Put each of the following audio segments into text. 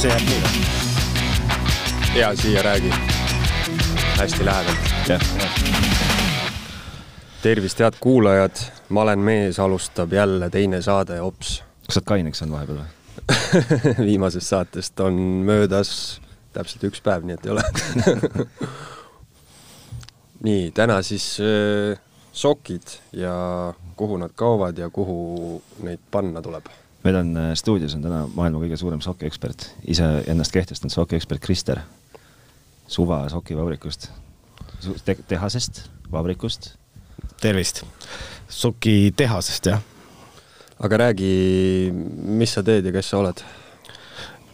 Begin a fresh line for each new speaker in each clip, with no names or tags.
see jääb mulle .
ja siia räägi . hästi lähedalt .
jah .
tervist , head kuulajad , ma olen mees , alustab jälle teine saade Ops .
kas sa oled kaineks olnud vahepeal või ?
viimasest saatest on möödas täpselt üks päev , nii et ei ole . nii , täna siis öö, sokid ja kuhu nad kaovad ja kuhu neid panna tuleb .
meil on äh, stuudios on täna maailma kõige suurem sokiekspert , ise ennast kehtestanud sokiekspert Krister . suva sokivabrikust , tehasest , vabrikust .
tervist . Soki tehasest jah ?
aga räägi , mis sa teed ja kes sa oled ?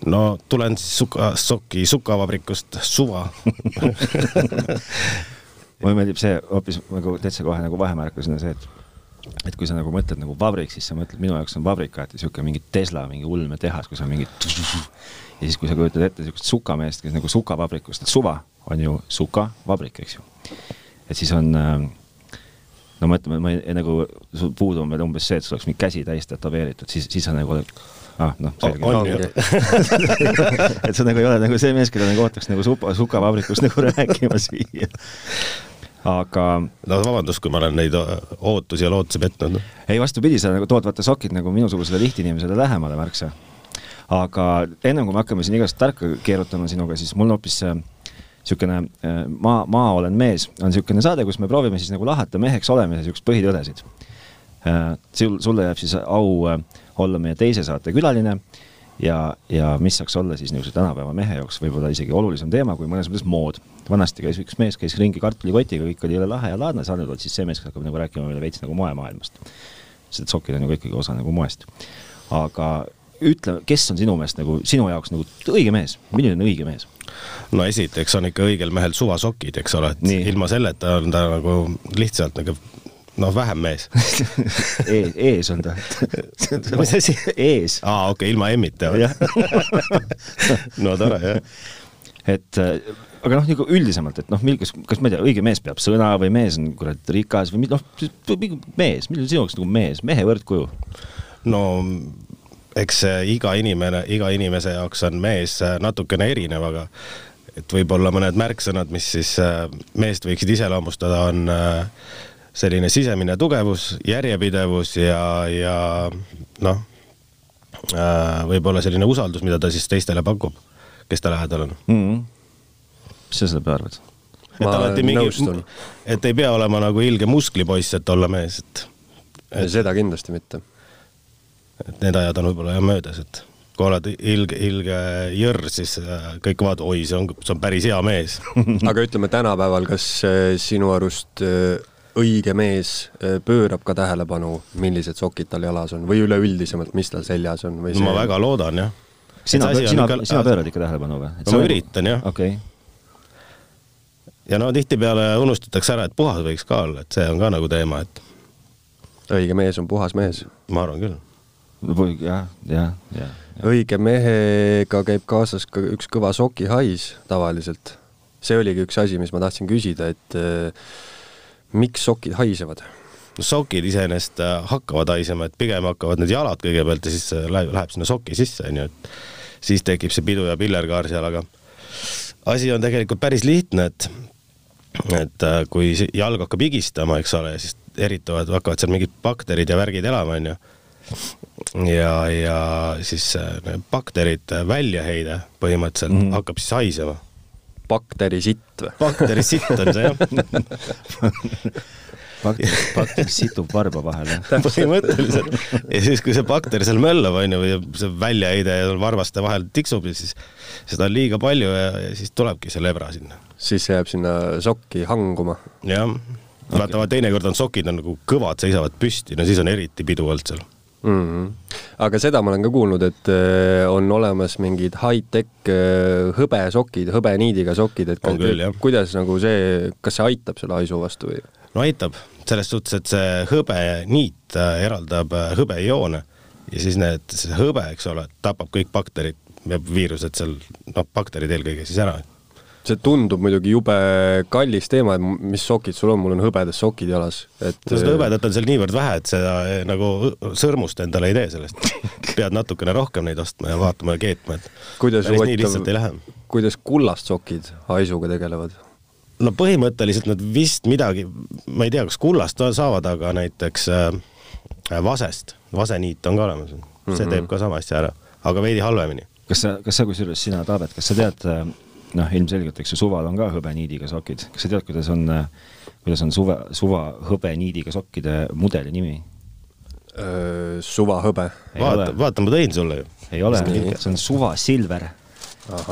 no tulen siis suka , Soki sukavabrikust , suva
mulle meeldib see hoopis nagu täitsa kohe nagu vahemärkusena see , et et kui sa nagu mõtled nagu vabrik , siis sa mõtled , minu jaoks on vabrikaat ja sihuke mingi Tesla mingi ulmetehas , kus on mingi ja siis , kui sa kujutad ette siukest sukameest , kes nagu sukavabrikust , et suva on ju sukavabrik , eks ju . et siis on äh, no ma ütlen , ma ei, nagu sul puudu on veel umbes see , et sul oleks mingi käsi täis tätoveeritud , siis , siis sa nagu oled , ah noh , selge .
on ju .
et sa nagu ei ole nagu see mees , keda nagu ootaks nagu supa , sukavabrikus nagu rääkima siia . aga
no vabandust , kui ma olen neid o- ootusi ja lootusi petnud .
ei , vastupidi , sa nagu tood vaata sokid nagu minusugusele lihtinimesele lähemale märksa . aga ennem kui me hakkame siin igast tarka keerutama sinuga , siis mul on hoopis äh, niisugune äh, ma , ma olen mees , on niisugune saade , kus me proovime siis nagu lahata meheks olemise niisuguseid põhitõdesid . Äh, sul , sulle jääb siis au äh, olla meie teise saate külaline ja , ja mis saaks olla siis niisuguse tänapäeva mehe jaoks võib-olla isegi olulisem teema kui mõnes mõttes mood . vanasti käis üks mees , käis ringi kartulikotiga , kõik oli jõle lahe ja laadne , sa nüüd oled siis see mees , kes hakkab nagu rääkima meile veits nagu moemaailmast . sest sokid on ju ka ikkagi osa nagu moest . aga ütle , kes on sinu meelest nagu sinu jaoks nagu õige mees , milline on õige mees ?
no esiteks on ikka õigel mehel suvasokid , eks ole , et
Nii.
ilma selleta on ta nagu lihtsalt nagu noh , vähem mees ..
E- , ees on ta
Mis asi?
ees .
aa , okei , ilma emmita . no tore jah .
et äh, aga noh , nagu üldisemalt , et noh , mil- , kas , kas ma ei tea , õige mees peab sõna või mees on kurat rikas või mi- noh , mees , milline sinu jaoks nagu mees , mehe võrdkuju ?
no eks see iga inimene , iga inimese jaoks on mees äh, natukene erinev , aga et võib-olla mõned märksõnad , mis siis äh, meest võiksid iseloomustada , on äh, selline sisemine tugevus , järjepidevus ja , ja noh , võib-olla selline usaldus , mida ta siis teistele pakub , kes ta lähedal on .
Mm-hmm. mis sa selle peale arvad ?
et
Ma
alati mingi
nõustun. ,
et ei pea olema nagu ilge musklipoiss , et olla mees , et
seda kindlasti mitte .
et need ajad on võib-olla jah möödas , et kui oled ilge , ilge jõrr , siis äh, kõik vaatavad , oi , see on , see on päris hea mees .
aga ütleme tänapäeval , kas äh, sinu arust äh, õige mees äh, pöörab ka tähelepanu , millised sokid tal jalas on või üleüldisemalt , mis tal seljas on või
no ma väga loodan jah .
sina , sina , sina . pöörad ikka tähelepanu või ?
no ma üritan jah ,
nagu- okei ,
ja no tihtipeale unustatakse ära , et puhas võiks ka olla , et see on ka nagu teema , et
õige mees on puhas mees .
ma arvan küll .
jah , jah , jah .
õige mehega käib kaasas ka üks kõva sokihais tavaliselt . see oligi üks asi , mis ma tahtsin küsida , et äh, miks sokid haisevad ?
no sokid iseenesest äh, hakkavad haisema , et pigem hakkavad need jalad kõigepealt ja siis see läheb , läheb sinna soki sisse , onju , et siis tekib see pidu ja pillerkaar seal , aga asi on tegelikult päris lihtne , et et äh, kui si- jalg hakkab higistama , eks ole , siis erituvad , hakkavad seal mingid bakterid ja värgid elama , onju . ja , ja siis äh, need bakterid väljaheide põhimõtteliselt mm
Mhm.
-hmm. hakkab siis haisema .
bakterisitt või ?
bakterisitt on see jah ,
bakter , bakter situb varba vahele .
põhimõtteliselt . ja siis , kui see bakter seal möllab , onju , või see väljaheide seal varvaste vahel tiksub ja siis seda on liiga palju ja, ja siis tulebki see lebra sinna .
siis see jääb sinna sokki hanguma .
jah okay. , vaata vaata, teinekord on sokid on nagu kõvad , seisavad püsti , no siis on eriti pidu olnud seal .
mm . -hmm. aga seda ma olen ka kuulnud , et äh, on olemas mingid high-tech äh, hõbesokid , hõbeniidiga sokid , et
On küll, jah.
kuidas nagu see , kas see aitab selle haisu vastu või ?
no aitab , selles suhtes , et see hõbeniit äh, eraldab äh, hõbejoone ja siis need , see hõbe , eks ole , tapab kõik bakterid ja viirused seal , noh , bakterid eelkõige siis ära .
see tundub muidugi jube kallis teema , et m- mis sokid sul on , mul on hõbedad sokid jalas , et äh,
no seda hõbedat on seal niivõrd vähe , et seda eh, nagu õ- sõrmust endale ei tee sellest . pead natukene rohkem neid ostma ja vaatama ja keetma , et
kuidas
päris nii lihtsalt ei
huvitav
lähe .,
kuidas kullast sokid haisuga tegelevad ?
no põhimõtteliselt nad vist midagi , ma ei tea , kas kullast ta- saavad , aga näiteks äh, vasest , vaseniit on ka olemas , see mm -hmm. teeb ka sama asja ära , aga veidi halvemini .
kas sa , kas sa kusjuures sina , Taavet , kas sa tead , noh , ilmselgelt , eks ju , suval on ka hõbeniidiga sokid , kas sa tead , kuidas on , kuidas on suve , suva hõbeniidiga sokkide mudeli nimi ?
Äh, suvahõbe .
Ei
vaata
ole. ,
vaata , ma tõin sulle ju .
ei ole
Nii. ,
see on suva Silver .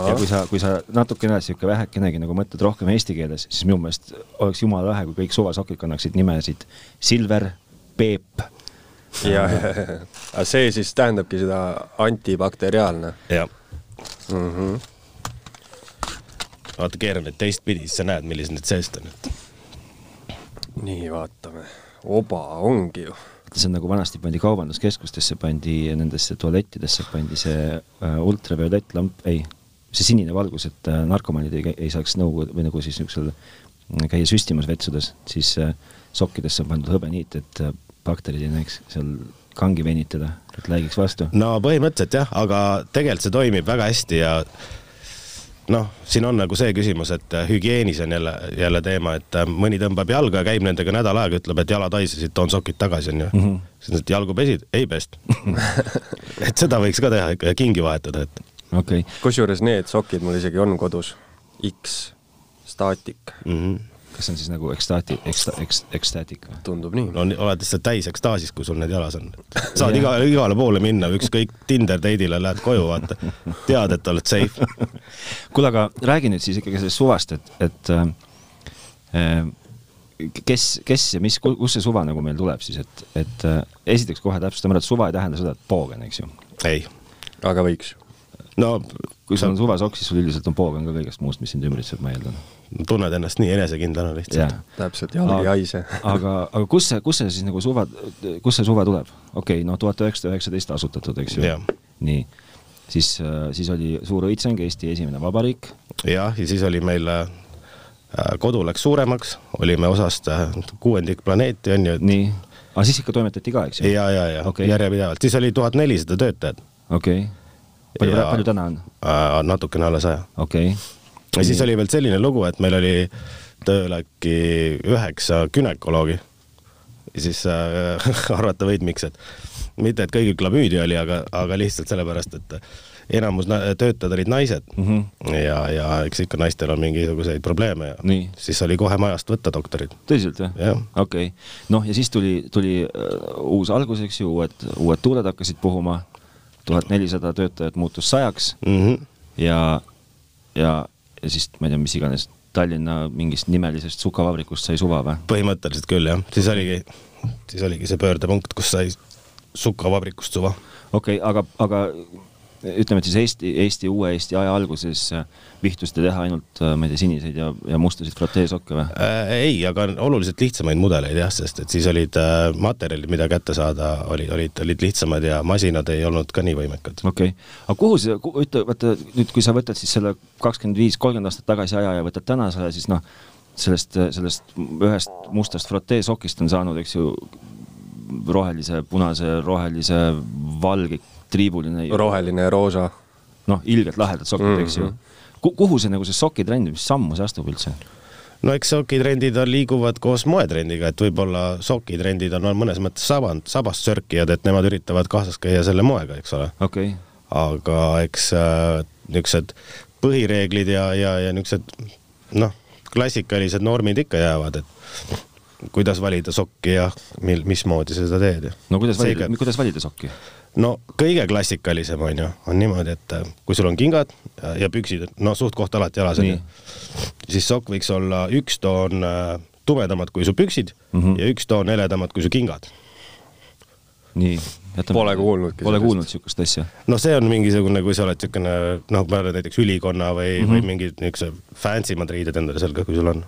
ja kui sa , kui sa natukene sihuke vähekenegi nagu mõtled rohkem eesti keeles , siis minu meelest oleks jumala lahe , kui kõik suvasokid kannaksid nimesid Silver , Peep .
ja , aga see siis tähendabki seda antibakteriaalne .
jah . Mhm. vaata , keeran need teistpidi , siis sa näed , millised need seest on , et
nii , vaatame . oba ongi ju .
see on nagu vanasti pandi kaubanduskeskustesse , pandi nendesse tualettidesse pandi see äh, ultraviolettlamp , ei , see sinine valgus , et äh, narkomaanid ei, käi- ei saaks nõu või nagu siis niisugusel mm, käia süstimas vetsudes , siis äh, sokkidesse on pandud hõbeniit , et äh, bakterid ei näeks seal kangi venitada , et läigiks vastu .
no põhimõtteliselt jah , aga tegelikult see toimib väga hästi ja noh , siin on nagu see küsimus , et hügieenis on jälle , jälle teema , et äh, mõni tõmbab jalga ja käib nendega nädal aega , ütleb , et jalad haisesid , toon sokid tagasi , onju . siis nad , et jalgu pesid , ei pest . et seda võiks ka teha ikka ja kingi vahetada , et
okei okay. ,
kusjuures need sokid mul isegi on kodus . X staatik ,
mm -hmm.
kas see on siis nagu ekstaati- , eksta- , ekst- , ekstaatik või ?
tundub nii .
no nii- oled lihtsalt täis ekstaasis , kui sul need jalas on . saad iga , igale poole minna , ükskõik Tinder date'ile lähed koju , vaata . tead , et oled safe .
kuule , aga räägi nüüd siis ikkagi sellest suvast , et , et äh, kes , kes ja mis , kus see suva nagu meil tuleb siis , et , et äh, esiteks kohe täpsustame ära , et suva ei tähenda seda , et poogen , eks ju .
ei ,
aga võiks .
no
kui sul on suvasokk , siis sul üldiselt on poogen ka kõigest muust , mis sind ümbritseb , ma eeldan .
tunned ennast nii enesekindlana lihtsalt .
jah ,
täpselt , jalg ei
Aga-
haise .
aga , aga kus see , kus see siis nagu suva , kus see suva tuleb ? okei okay, , no tuhat üheksasada üheksateist asutatud , eks ju
Jah. .
nii , siis , siis oli suur õitseng , Eesti esimene vabariik .
jah , ja siis oli meil äh, kodu läks suuremaks , olime osast äh, kuuendik planeeti on ju ,
nii , aga siis ikka toimetati ka , eks
et
ju ?
ja , ja , ja
Okei.
okay. järjepidevalt , siis oli tuhat nelisada töötajat
okei okay. . palju
Ja- ,
palju täna on ?
äh, , natukene alla saja .
okei okay. ,
ja siis oli veel selline lugu , et meil oli tööl äkki üheksa günekoloogi . ja siis äh, arvata võid , miks , et mitte , et kõigil klamüüdi oli , aga , aga lihtsalt sellepärast , et enamus na- töötajad olid naised mm
Mhm.
-hmm. ja , ja eks ikka naistel on mingisuguseid probleeme ja
Nii.
siis oli kohe majast võtta doktorid .
tõsiselt või
Jah. ?
okei , noh ja siis tuli , tuli äh, uus algus , eks ju , uued , uued tuuled hakkasid puhuma , tuhat nelisada töötajat muutus sajaks
mm . -hmm.
ja , ja , ja siis ma ei tea , mis iganes , Tallinna mingist nimelisest sukavabrikust sai suva või ?
põhimõtteliselt küll jah , siis oligi , siis oligi see pöördepunkt , kus sai sukavabrikust suva .
okei okay, , aga , aga ütleme , et siis Eesti , Eesti , uue Eesti aja alguses äh, vihtuste teha ainult , ma ei tea , siniseid ja , ja mustasid frotteesokke või ?
Äh, ei , aga on oluliselt lihtsamaid mudeleid jah , sest et siis olid äh, materjalid , mida kätte saada , olid , olid , olid lihtsamad ja masinad ei olnud ka nii võimekad .
okei okay. , aga kuhu see , ütle , vaata nüüd , kui sa võtad siis selle kakskümmend viis , kolmkümmend aastat tagasi aja ja võtad tänase aja , siis noh , sellest , sellest ühest mustast frotee sokist on saanud , eks ju , rohelise , punase , rohelise , valge , triibuline ,
roheline ja roosa .
noh , ilgelt lahedad sokid mm , -hmm. eks
Mhm.
ju . kuhu see nagu see sokitrend , mis sammu see astub üldse ?
no eks sokitrendid on- liiguvad koos moetrendiga , et võib-olla sokitrendid on mõnes mõttes saband , sabast sörkijad , et nemad üritavad kaasas käia selle moega , eks ole .
okei okay. ,
aga eks äh, niisugused põhireeglid ja , ja , ja niisugused noh , klassikalised normid ikka jäävad , et kuidas valida sokki ja mil , mismoodi sa seda teed ja .
no kuidas valida
Seega- ,
kuidas valida sokki ?
no kõige klassikalisem on ju , on niimoodi , et äh, kui sul on kingad ja- ja püksid , no suht-koht alati jalas on
Nii.
ju , siis sokk võiks olla üks toon äh, tumedamad kui su püksid mm
Mhm.
-hmm. ja üks toon heledamad kui su kingad .
nii .
Pole kuulnudki
Pole
sellest.
kuulnud niisugust asja .
no see on mingisugune , kui sa oled niisugune noh , ma ei tea , näiteks ülikonna või mm , -hmm.
Mhm.
või mingid niisuguse fancy mad riided endale selga , kui sul on .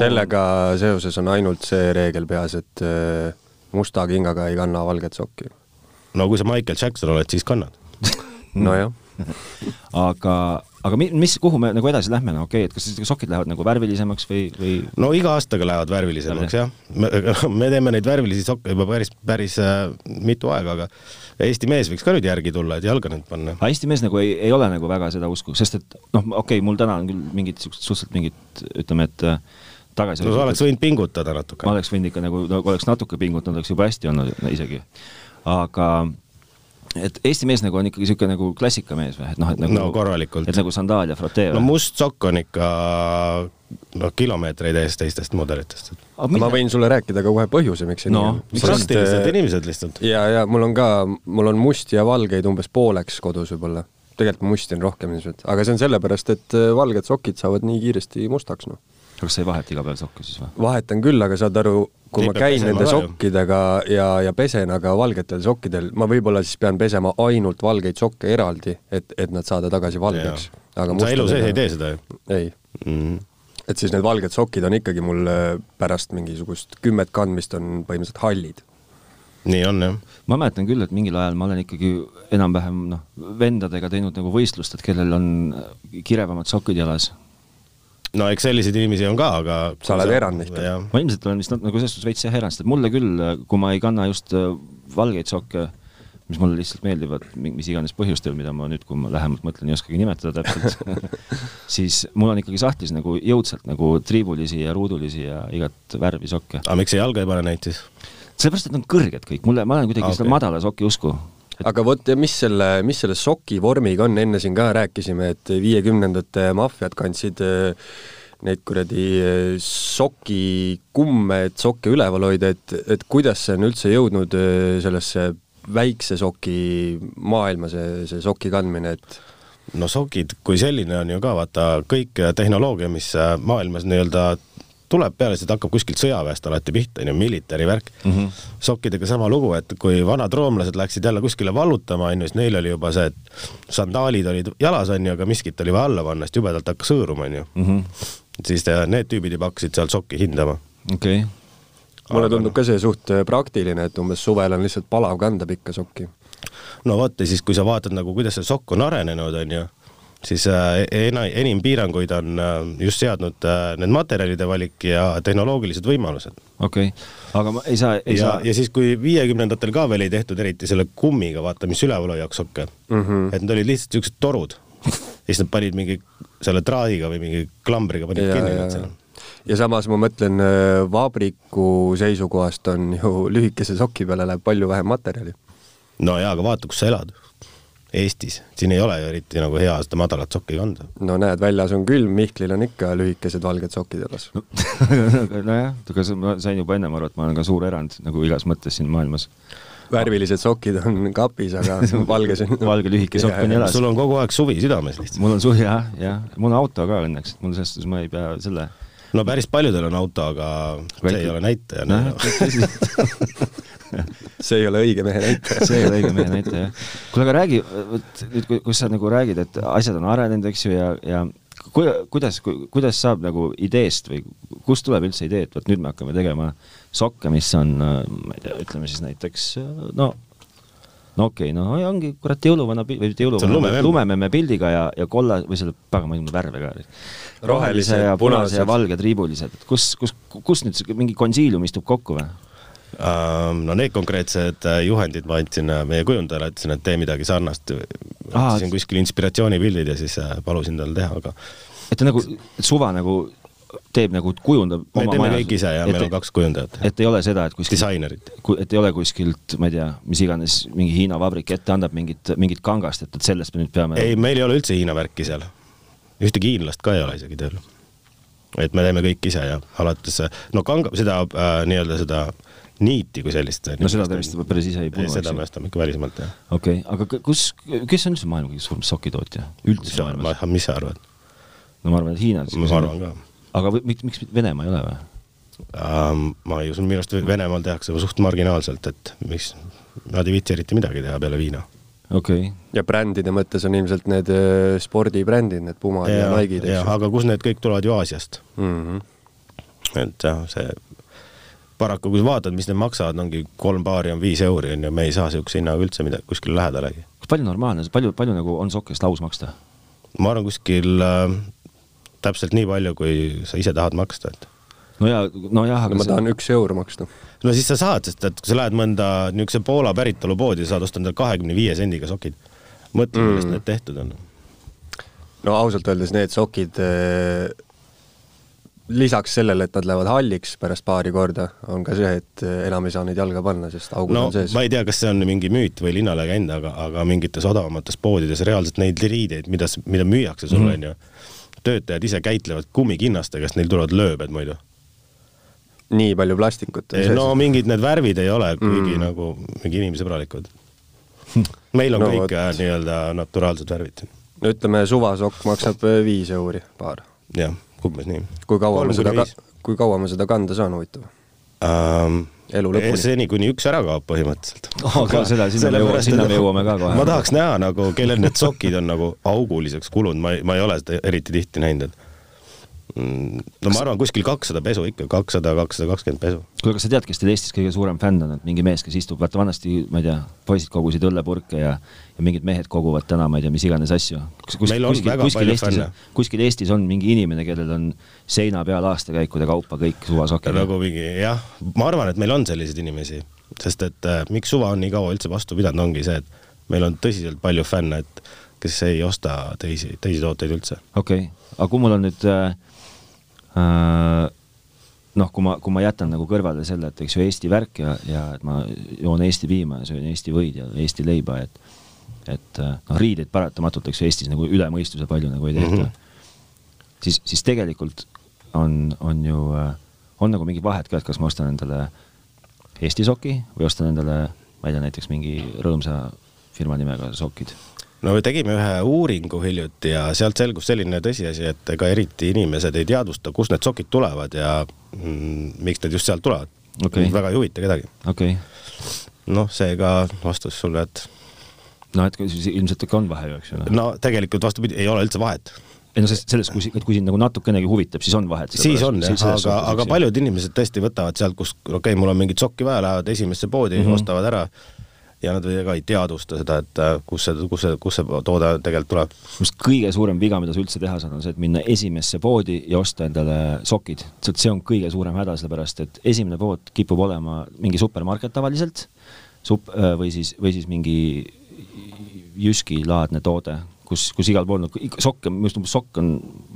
sellega seoses on ainult see reegel peas , et äh, öö, musta kingaga ei kanna valget sokki .
no kui sa Michael Jackson oled , siis kannad .
nojah ,
aga , aga mi- mis , kuhu me nagu edasi lähme , no okei okay, , et kas siis sokid lähevad nagu värvilisemaks või , või
no iga aastaga lähevad värvilisemaks jah , me teeme neid värvilisi sokke juba päris , päris äh, mitu aega , aga Eesti mees võiks ka nüüd järgi tulla , et jalga nüüd panna .
aga Eesti mees nagu ei , ei ole nagu väga seda usku , sest et noh , okei okay, , mul täna on küll mingid siuksed suhteliselt mingid , ütleme , et äh, tagasi
no sa oleks võinud pingutada
ma
natuke .
oleks võinud ikka nagu , nagu oleks natuke pingutanud , oleks juba hästi olnud isegi . aga et Eesti mees nagu on ikkagi niisugune nagu klassikamees või , et noh , et nagu
No korralikult.
et nagu sandaal ja frotee
no
või no, ?
must sokk on ikka noh , kilomeetreid ees teistest mudelitest .
ma võin sulle rääkida ka kohe põhjuse , miks see
No,
nii on .
äh,
praktilised inimesed lihtsalt .
ja , ja mul on ka , mul on musti ja valgeid umbes pooleks kodus võib-olla . tegelikult ma musti on rohkem ilmselt , aga see on sellepärast , et äh, valged sokid saavad nii kiiresti mustaks , noh .
kas sa ei vaheta iga päev sokke siis või ?
vahetan küll , aga saad aru , kui ma
Neid peab
käin
pesema ka
nende
ju.
sokkidega ja , ja pesen aga valgetel sokkidel , ma võib-olla siis pean pesema ainult valgeid sokke eraldi , et , et nad saada tagasi valgeks .
sa elu sees ei tee seda ju
ei ,
mm. ?
et siis need valged sokid on ikkagi mul äh, pärast mingisugust kümmet kandmist on põhimõtteliselt hallid .
nii on jah .
ma mäletan küll , et mingil ajal ma olen ikkagi enam-vähem noh , vendadega teinud nagu võistlust , et kellel on äh, kirevamad sokid jalas .
no eks selliseid inimesi on ka , aga .
Sa oled erand lihtsalt.
jah ,
ma ilmselt olen vist nat- nagu selles suhtes veits jah erand , sest et mulle küll , kui ma ei kanna just äh, valgeid sokke , mis mulle lihtsalt meeldivad mi- mis iganes põhjustel , mida ma nüüd , kui ma lähemalt mõtlen , ei oskagi nimetada täpselt , siis mul on ikkagi sahtlis nagu jõudsalt nagu triibulisi ja ruudulisi ja igat värvi sokke .
aga miks sa jalga ei pane neid siis ?
sellepärast , et nad on kõrged kõik , mulle , ma olen kuidagi okay.
Okei.
seda madala soki usku .
aga vot , mis selle , mis selle soki vormiga on , enne siin ka rääkisime , et viiekümnendate maffiad kandsid äh, neid kuradi äh, sokikumme , et sokke üleval hoida , et , et kuidas see on üldse jõudnud äh, sellesse väikse soki maailma , see , see soki kandmine , et
no sokid kui selline on ju ka vaata kõik äh, tehnoloogia , mis äh, maailmas nii-öelda tuleb peale , see hakkab kuskilt sõjaväest alati pihta , onju , military värk mm .
Mhm.
-hmm. sokkidega sama lugu , et kui vanad roomlased läksid jälle kuskile vallutama , onju , siis neil oli juba see , et sandaalid olid jalas , onju , aga miskit oli vaja alla panna , sest jubedalt hakkas hõõruma , onju .
Mhm.
siis te, need tüübid juba hakkasid seal sokki hindama .
okei ,
mulle tundub ka see suht äh, praktiline , et umbes suvel on lihtsalt palav kanda pikka sokki .
no vot , ja siis kui sa vaatad nagu , kuidas see sokk on arenenud , on ju , siis äh, ena- , enim piiranguid on äh, just seadnud äh, need materjalide valik ja tehnoloogilised võimalused .
okei , aga ma ei saa , ei
ja
saa ,,
ja siis , kui viiekümnendatel ka veel ei tehtud eriti selle kummiga , vaata , mis üleval hoiaks sokke
Mhm.
mm , -hmm. et need olid lihtsalt niisugused torud ja siis nad panid mingi selle traadiga või mingi klambriga panid
ja ,
kinni
ja
nad seal .,
ja samas ma mõtlen , vabriku seisukohast on ju lühikese soki peale läheb palju vähem materjali .
no jaa , aga vaata , kus sa elad . Eestis , siin ei ole ju eriti nagu hea seda madalat sokki kanda .
no näed , väljas on külm , Mihklil on ikka lühikesed valged sokid jalas .
nojah , aga sa- ma sain juba ennem aru , et ma olen ka suur erand nagu igas mõttes siin maailmas .
värvilised sokid on kapis , aga valges on
Valge lühike sokk
Ja,
on
ja.
jalas.
sul on kogu aeg suvi südames lihtsalt .
mul on suvi jah , jah , mul on auto ka õnneks , et mul selles suhtes ma ei pea selle .
no päris paljudel on auto , aga see ei ole näitaja
Nojah,
no. .
see ei ole õige mehe näitaja .
see ei ole õige mehe näitaja jah . kuule , aga räägi , vot nüüd , kus sa nagu räägid , et asjad on arenenud , eks ju , ja , ja kui, kuidas , kuidas saab nagu ideest või kust tuleb üldse idee , et vot nüüd me hakkame tegema sokke , mis on , ma ei tea , ütleme siis näiteks no no okei okay, , no ongi kurat jõuluvana pi- või mitte
See on
jõuluvana ,
lumememm.
lumemeemme pildiga ja , ja kolla või selle , pagan , ma ei tea värve ka . rohelise ja
Rohelised,
punase ja
punased.
valge triibulised , et kus , kus , kus nüüd sihuke mingi konsiilium istub kokku või ?
no need konkreetsed äh, juhendid ma andsin äh, meie kujundajale , ütlesin , et tee midagi sarnast .
Aa,
otsisin
et-
kuskil inspiratsioonipildid ja siis äh, palusin tal teha , aga
et ta nagu et suva nagu teeb nagu , kujundab
me teeme
maja-
kõik ise ja
et,
meil on kaks kujundajat ,
et ei ole seda , et kuskil ,
disainerit .
et ei ole kuskilt , ma ei tea , mis iganes mingi Hiina vabrik ette annab mingit , mingit kangast , et , et sellest me nüüd peame .
ei , meil ei ole üldse Hiina värki seal . ühtegi hiinlast ka ei ole isegi tööl . et me teeme kõik ise ja alates , no kanga , seda äh, nii-öelda seda niiti kui sellist .
no seda te vist päris ise ei punu , eks
seda me
ju .
ostame ikka välismaalt jah .
okei , aga k- kus , kes on üldse maailma kõige suurem sokitootja ? üldse maailmas ?
mis sa arvad ?
no ma arvan , et Hiina .
ma arvan ka .
aga või- miks , miks Venemaa ei ole või ?
Ähm, ma ei usu , minu arust Venemaal tehakse juba suht marginaalselt , et miks , nad ei viitsi eriti midagi teha peale viina .
okei okay. ,
ja brändide mõttes on ilmselt need öö, spordibrändid , need Pumad ja, ja Nike'id , eks ju . Mhm.
aga kus need kõik tulevad ju Aasiast ,
Mm -hmm.
et jah , see paraku kui vaatad, mis need maksavad, ongi kolm paari on viis euri onju, me ei saa siukse hinnaga üldse midagi kuskil lähedalegi.
palju normaalne , palju , palju nagu on sokkist laus maksta ?
ma arvan , kuskil äh, täpselt nii palju , kui sa ise tahad maksta , et
no ja , nojah , aga
ma tahan üks eur maksta .
no siis sa saad , sest et kui sa lähed mõnda niisuguse Poola päritolu poodi , saad osta endale kahekümne viie sendiga sokid . mõtle mm. , millest need tehtud on .
no ausalt öeldes need sokid eh, lisaks sellele , et nad lähevad halliks pärast paari korda , on ka see , et eh, enam ei saa neid jalga panna , sest augud
no
on sees
ma . ei tea , kas see on mingi müüt või linnalegend , aga , aga mingites odavamates poodides reaalselt neid riideid , mida , mida müüakse sulle
Mhm.
onju mm. , töötajad ise käitlevad kummikinnastega , sest neil tulevad lööbed muidu .
nii palju plastikut on sees
Eh, no . mingid need värvid ei ole
Mhm.
kuigi mm. nagu mingi inimsõbralikud . meil on
No
no, kõik
vot.
äh, nii-öelda naturaalsed värvid .
no ütleme , suvasokk maksab eh, viis euri paar .
jah , umbes nii
kui kaua
Kolm
ma seda
kuni ,
kui kaua ma seda kanda saan , huvitav ?
ähm, .
Elu lõpuni.
seni , kuni üks ära kaob põhimõtteliselt .
Oh, ka seda- sinna me jõuame- sinna me jõuame ka kohe.
ma tahaks näha nagu , kellel need sokid on nagu auguliseks kulunud , ma ei , ma ei ole seda eriti tihti näinud , et mm, no ma arvan , kuskil kakssada pesu ikka , kakssada , kakssada kakskümmend pesu .
kuule , kas sa tead , kes teil Eestis kõige suurem fänn on , et mingi mees , kes istub , vaata vanasti , ma ei tea , poisid kogusid õllepurke ja , ja mingid mehed koguvad täna , ma ei tea , mis iganes asju .
Meil on väga palju fänne.
kuskil Eestis on mingi inimene , kellel on seina peal aastakäikude kaupa kõik suvasokid .
nagu mingi jah , ma arvan , et meil on selliseid inimesi , sest et äh, miks suva on nii kaua üldse vastu pidanud , ongi see , et meil on tõsiselt palju fänne , et kes ei osta teisi , teisi tooteid üldse .
okei okay. , aga kui mul on nüüd äh, äh, noh , kui ma , kui ma jätan nagu kõrvale selle , et eks ju Eesti värk ja , ja et ma joon Eesti piima ja söön Eesti võid ja Eesti leiba , et et äh, noh , riideid paratamatult , eks ju Eestis nagu üle mõistuse palju nagu ei tehta mm . -hmm. siis , siis tegelikult on , on ju , on nagu mingi vahet ka , et kas ma ostan endale Eesti soki või ostan endale , ma ei tea , näiteks mingi rõõmsa firma nimega sokid .
no me tegime ühe uuringu hiljuti ja sealt selgus selline tõsiasi , et ega eriti inimesed ei teadvusta , kust need sokid tulevad ja mm, miks need just sealt tulevad
Okei.
Neid väga ei huvita kedagi .
okei okay. ,
noh , seega vastus sulle , et
no et siis ilmselt ikka on vahe ju , eks ju noh.
no tegelikult vastupidi , ei ole üldse vahet .
ei no sest selles , kui , et kui sind nagu natukenegi huvitab , siis on vahet .
siis on jah , aga , aga . paljud inimesed tõesti võtavad sealt , kus okei okay, , mul on mingit sokki vaja , lähevad esimesse poodi mm , -hmm. ostavad ära ja nad ega ei teadvusta seda , et äh, kus see , kus see , kus see toode tegelikult tuleb .
minu arust kõige suurem viga , mida sa üldse teha saad , on see , et minna esimesse poodi ja osta endale sokid . sealt see on kõige suurem häda , sellepärast et esimene pood kipub olema mingi supermarket tavaliselt , sup- äh, või siis , või siis mingi jüskilaadne toode , kus , kus igal pool nagu ikka- sokke , minu arust umbes sokk on ,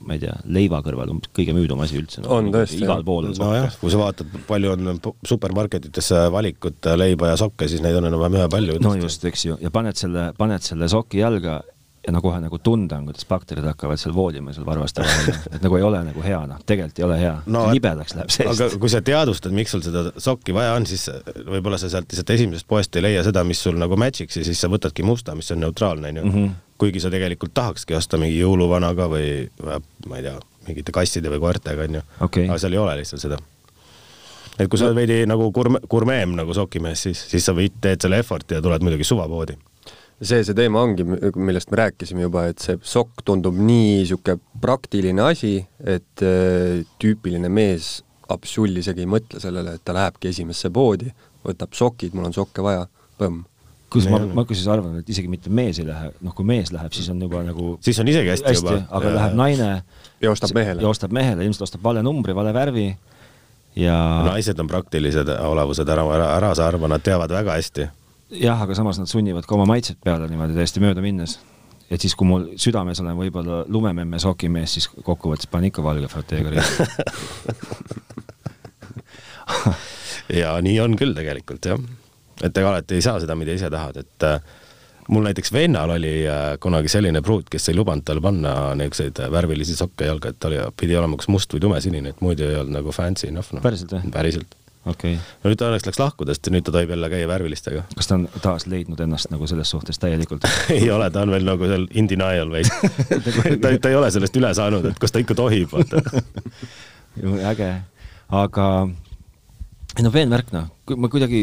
ma ei tea , leiva kõrval umbes kõige müüdum asi üldse .
On tõesti,
igal
jah.
pool on sokke
nojah , kui sa vaatad , palju on po- supermarketites valikut leiba ja sokke , siis neid on enam-vähem ühepalju .
no just , eks ju , ja paned selle , paned selle soki jalga ja no kohe nagu tunda on , kuidas bakterid hakkavad seal voolima seal varvaste vahel , et nagu ei ole nagu hea , noh , tegelikult ei ole hea no, , libedaks läheb seest
aga
aga... .
kui sa teadvustad , miks sul seda sokki vaja on , siis võib-olla sa sealt lihtsalt esimesest poest ei leia seda , mis sul nagu match'iks ja siis sa võtadki musta , mis on neutraalne ,
Mhm.
onju . kuigi sa tegelikult tahakski osta mingi jõuluvanaga või , ma ei tea , mingite kasside või koertega , onju .
Okei.
aga seal ei ole lihtsalt seda . et kui sa oled veidi nagu gurme- , gurmeem nagu sokimees , siis , siis sa võid , teed selle effort'i ja tuled muidugi suvapoodi .
see , see teema ongi , millest me rääkisime juba , et see sokk tundub nii niisugune praktiline asi , et äh, tüüpiline mees absull isegi ei mõtle sellele , et ta lähebki esimesse poodi , võtab sokid , mul on sokke vaja , põmm .
kus ma , ma kusjuures arvan , et isegi mitte mees ei lähe , noh , kui mees läheb , siis on juba nagu
siis on isegi hästi,
hästi ,
juba .
aga läheb naine
ja ostab mehele
ja . ostab mehele , ilmselt ostab vale numbri , vale värvi ja no,
naised on praktilised olevused , ära , ära , ära sa arva , nad teavad väga hästi .
jah , aga samas nad sunnivad ka oma maitset peale niimoodi täiesti mööda minnes . et siis , kui mul südames olen võib-olla lumememme sokimees , siis kokkuvõttes panen ikka valge frateega riiet .
ja nii on küll tegelikult jah . et ega alati ei saa seda , mida ise tahad , et äh, mul näiteks vennal oli äh, kunagi selline pruut , kes ei lubanud tal panna niisuguseid äh, värvilisi sokke jalga , et tal oli- pidi olema kas must või tumesinine , et muidu ei olnud nagu fancy enough no. .
Päriselt või?
päriselt .
okei okay. ,
no nüüd ta õnneks läks lahku tast ja nüüd ta tohib jälle käia värvilistega .
kas ta on taas leidnud ennast nagu selles suhtes täielikult ?
ei ole , ta on veel nagu seal in denial veits . ta , ta ei ole sellest üle saanud , et kas ta ikka tohib , vaata .
äge , aga ei no veenvärk noh , ma kuidagi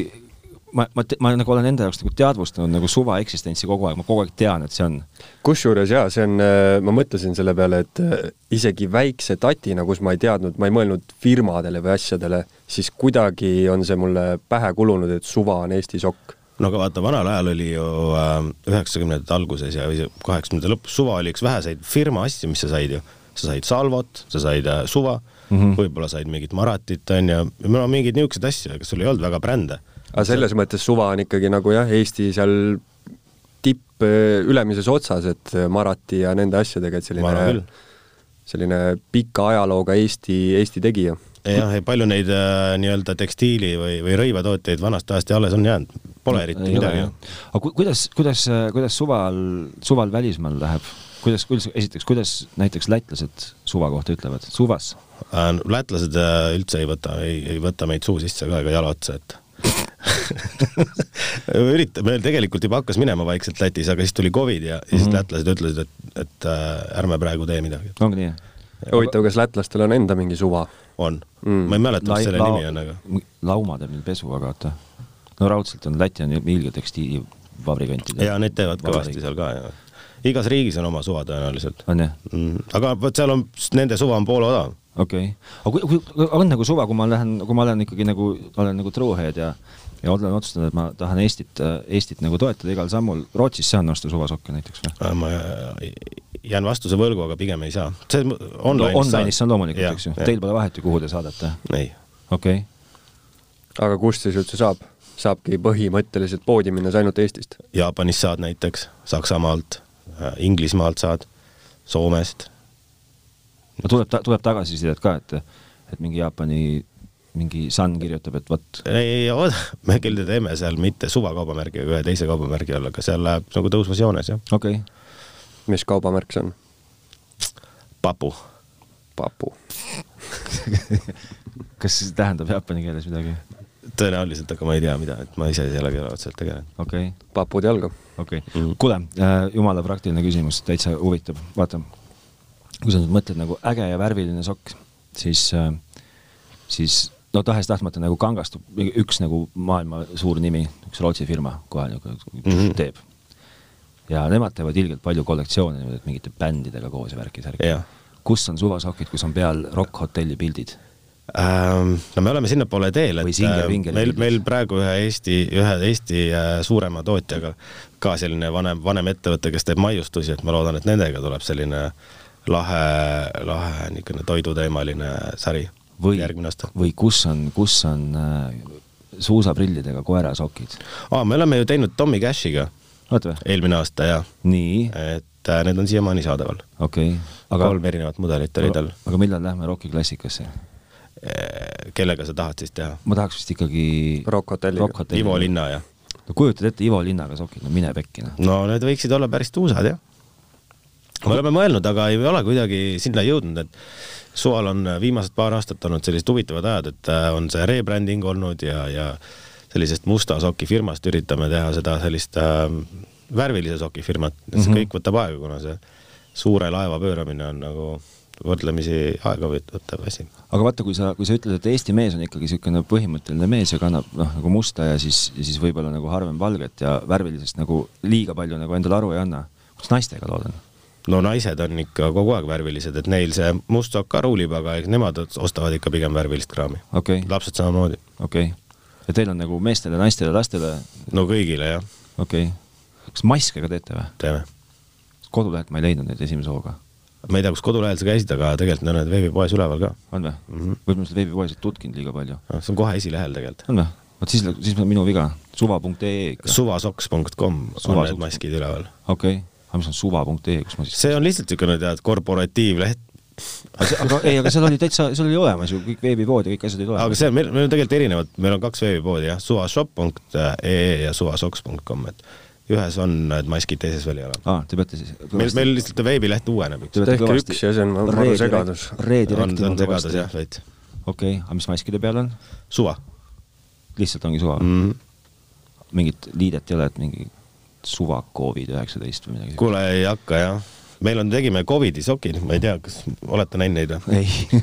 ma, ma, ma nagu olen enda jaoks nagu teadvustanud nagu suva eksistentsi kogu aeg, ma kogu aeg tean, et see on.
kusjuures jaa, see on, äh, ma mõtlesin selle peale, et äh, isegi väikse tatina, kus ma ei teadnud, ma ei mõelnud firmadele või asjadele, siis kuidagi on see mulle pähe kulunud, et suva on Eesti sokk.
no aga vaata, vanal ajal oli ju äh, üheksakümnendate äh, alguses ja kaheksakümnendate lõpus suva oli üks väheseid firma asju, mis sa said ju. sa said salvot, sa said äh, suva mm -hmm., võib-olla said mingit maratit, on ju, no mingeid niisuguseid asju, aga sul ei olnud väga brände
aga selles mõttes suva on ikkagi nagu jah, Eesti seal tipp äh, ülemises otsas, et äh, Marati ja nende asjadega, et selline, selline pika ajalooga Eesti, Eesti tegija.
jah, palju neid äh, nii-öelda tekstiili või, või rõivatooteid vanast ajast ja alles on jäänud, pole eriti ei midagi.
aga ku, kuidas, kuidas, kuidas suval, suval välismaal läheb? kuidas, kuidas, esiteks, kuidas näiteks lätlased suva kohta ütlevad, suvas
äh,? lätlased äh, üldse ei võta, ei, ei võta meid suu sisse ka ega jala otsa, et ürita-, meil tegelikult juba hakkas minema vaikselt Lätis, aga siis tuli Covid ja, ja siis
Mhm.
mm -hmm. lätlased ütlesid, et, et äh, ärme praegu tee midagi.
ongi nii,
jah? huvitav, kas lätlastel on enda mingi suva?
on mm., ma ei mäleta, mis selle nimi on,
aga. lauma teeb neil pesu, aga oota. no raudselt on, Läti on ilge tekstiilivabrikantide.
ja need teevad kõvasti seal ka, jah. igas riigis on oma suva tõenäoliselt.
on jah
mm.? aga vot seal on, nende suva on poole odavam
okei okay., aga kui, kui on nagu suva, kui ma lähen, kui ma olen ikkagi nagu, olen nagu truehead ja ja olen otsustanud, et ma tahan Eestit, Eestit nagu toetada igal sammul, Rootsis saan osta suvasokke näiteks või?
ma jään vastuse võlgu, aga pigem ei saa. see
online'is no, online on loomulikult, eks ju, teil pole vahet ju, kuhu te saadate?
ei.
okei okay..
aga kust siis üldse saab? saabki põhimõtteliselt poodi minnes ainult Eestist?
Jaapanist saad näiteks, Saksamaalt, äh, Inglismaalt saad, Soomest
no tuleb ta,, tuleb tagasisidet ka, et, et mingi Jaapani mingi Sun kirjutab, et vot.
ei, ei, me küll teeme seal mitte suvakaubamärgi, aga ühe teise kaubamärgi all, aga seal läheb nagu tõusvas joones, jah.
okei okay..
mis kaubamärk see on?
papu.
papu
kas see tähendab jaapani keeles midagi?
tõenäoliselt, aga ma ei tea, mida, et ma ise sellega otseselt tegelen.
okei okay..
papud jalga.
okei okay. mm. -hmm., kuule äh,, jumala praktiline küsimus, täitsa huvitav, vaata kui sa nüüd mõtled nagu äge ja värviline sokk, siis, äh, siis no tahes-tahtmata nagu kangastub üks nagu maailma suur nimi, üks Rootsi firma kohe nagu mm -hmm. teeb. ja nemad teevad ilgelt palju kollektsioone niimoodi, et mingite bändidega koos ja värki särki
yeah..
kus on suvasokid, kus on peal Rock Hotelli pildid
ähm,? No me oleme sinnapoole teel, et meil, meil pildid. praegu ühe Eesti, ühe Eesti äh, suurema tootjaga ka selline vanem, vanem ettevõte, kes teeb maiustusi, et ma loodan, et nendega tuleb selline lahe, lahe niisugune toiduteemaline sari
või,
järgmine aasta.
või kus on, kus on äh, suusaprillidega koerasokid?
aa, me oleme ju teinud Tommy Cashiga eelmine aasta ja
nii,
et äh, need on siiamaani saadaval.
okei okay.
aga.... kolm erinevat mudelit oli tal. Äh,
aga millal lähme Rocki klassikasse?
kellega sa tahad siis teha?
ma tahaks vist ikkagi
Rock Hotelliga.
Ivo Linna, jah?
no kujutad ette Ivo Linnaga sokid, no mine pekki, noh.
no need võiksid olla päris tuusad, jah me oleme mõelnud, aga ei ole kuidagi sinna jõudnud, et suval on viimased paar aastat olnud sellised huvitavad ajad, et äh, on see rebranding olnud ja, ja sellisest musta soki firmast üritame teha seda sellist äh, värvilise soki firmat, see mm -hmm. kõik võtab aega, kuna see suure laeva pööramine on nagu võrdlemisi aegavõttev asi.
aga vaata, kui sa, kui sa ütled, et Eesti mees on ikkagi niisugune põhimõtteline mees ja kannab noh, nagu musta ja siis, siis võib-olla nagu harvem valget ja värvilisest nagu liiga palju nagu endale aru ei anna, kuidas naistega lood on?
no naised on ikka kogu aeg värvilised, et neil see must sokk ka ruulib, aga nemad ostavad ikka pigem värvilist kraami
okay..
lapsed samamoodi.
okei okay., ja teil on nagu meestele, naistele, lastele?
no kõigile jah.
okei okay., kas maske ka teete või?
teeme.
kodulehelt ma ei leidnud neid esimese hooga.
ma ei tea, kus kodulehel sa käisid, aga tegelikult nad on veebipoes üleval ka.
on või mm -hmm.? võib-olla seda veebipoes ei tutkinud liiga palju.
see on kohe esilehel tegelikult.
on või? vot siis, siis on minu viga, suva.ee ikka.
suvasoks.com on need maskid üleval.
okei okay aga mis on suva.ee, kus ma siis
see on lihtsalt niisugune tead, korporatiivleht.
aga, aga ei, aga seal oli täitsa, seal oli olemas ju kõik veebipood ja kõik asjad olid olemas.
aga see, meil, meil on tegelikult erinevad, meil on kaks veebipoodi jah, suvashop.ee ja suvasoks.com, et ühes on need maskid, teises veel ei ole.
aa, te peate siis
meil, meil lihtsalt veebileht uueneb.
tehke üks ja see on maru segadus.
redirekt
on segadus jah, veits.
okei okay,, aga mis maskide peal on?
suva. Mhm.
lihtsalt ongi suva mm? -hmm. mingit liidet ei ole, et mingi suva Covid üheksateist või midagi.
kuule, ei hakka jah. meil on, tegime Covidi sokid, ma ei tea, kas olete näinud neid
või? ei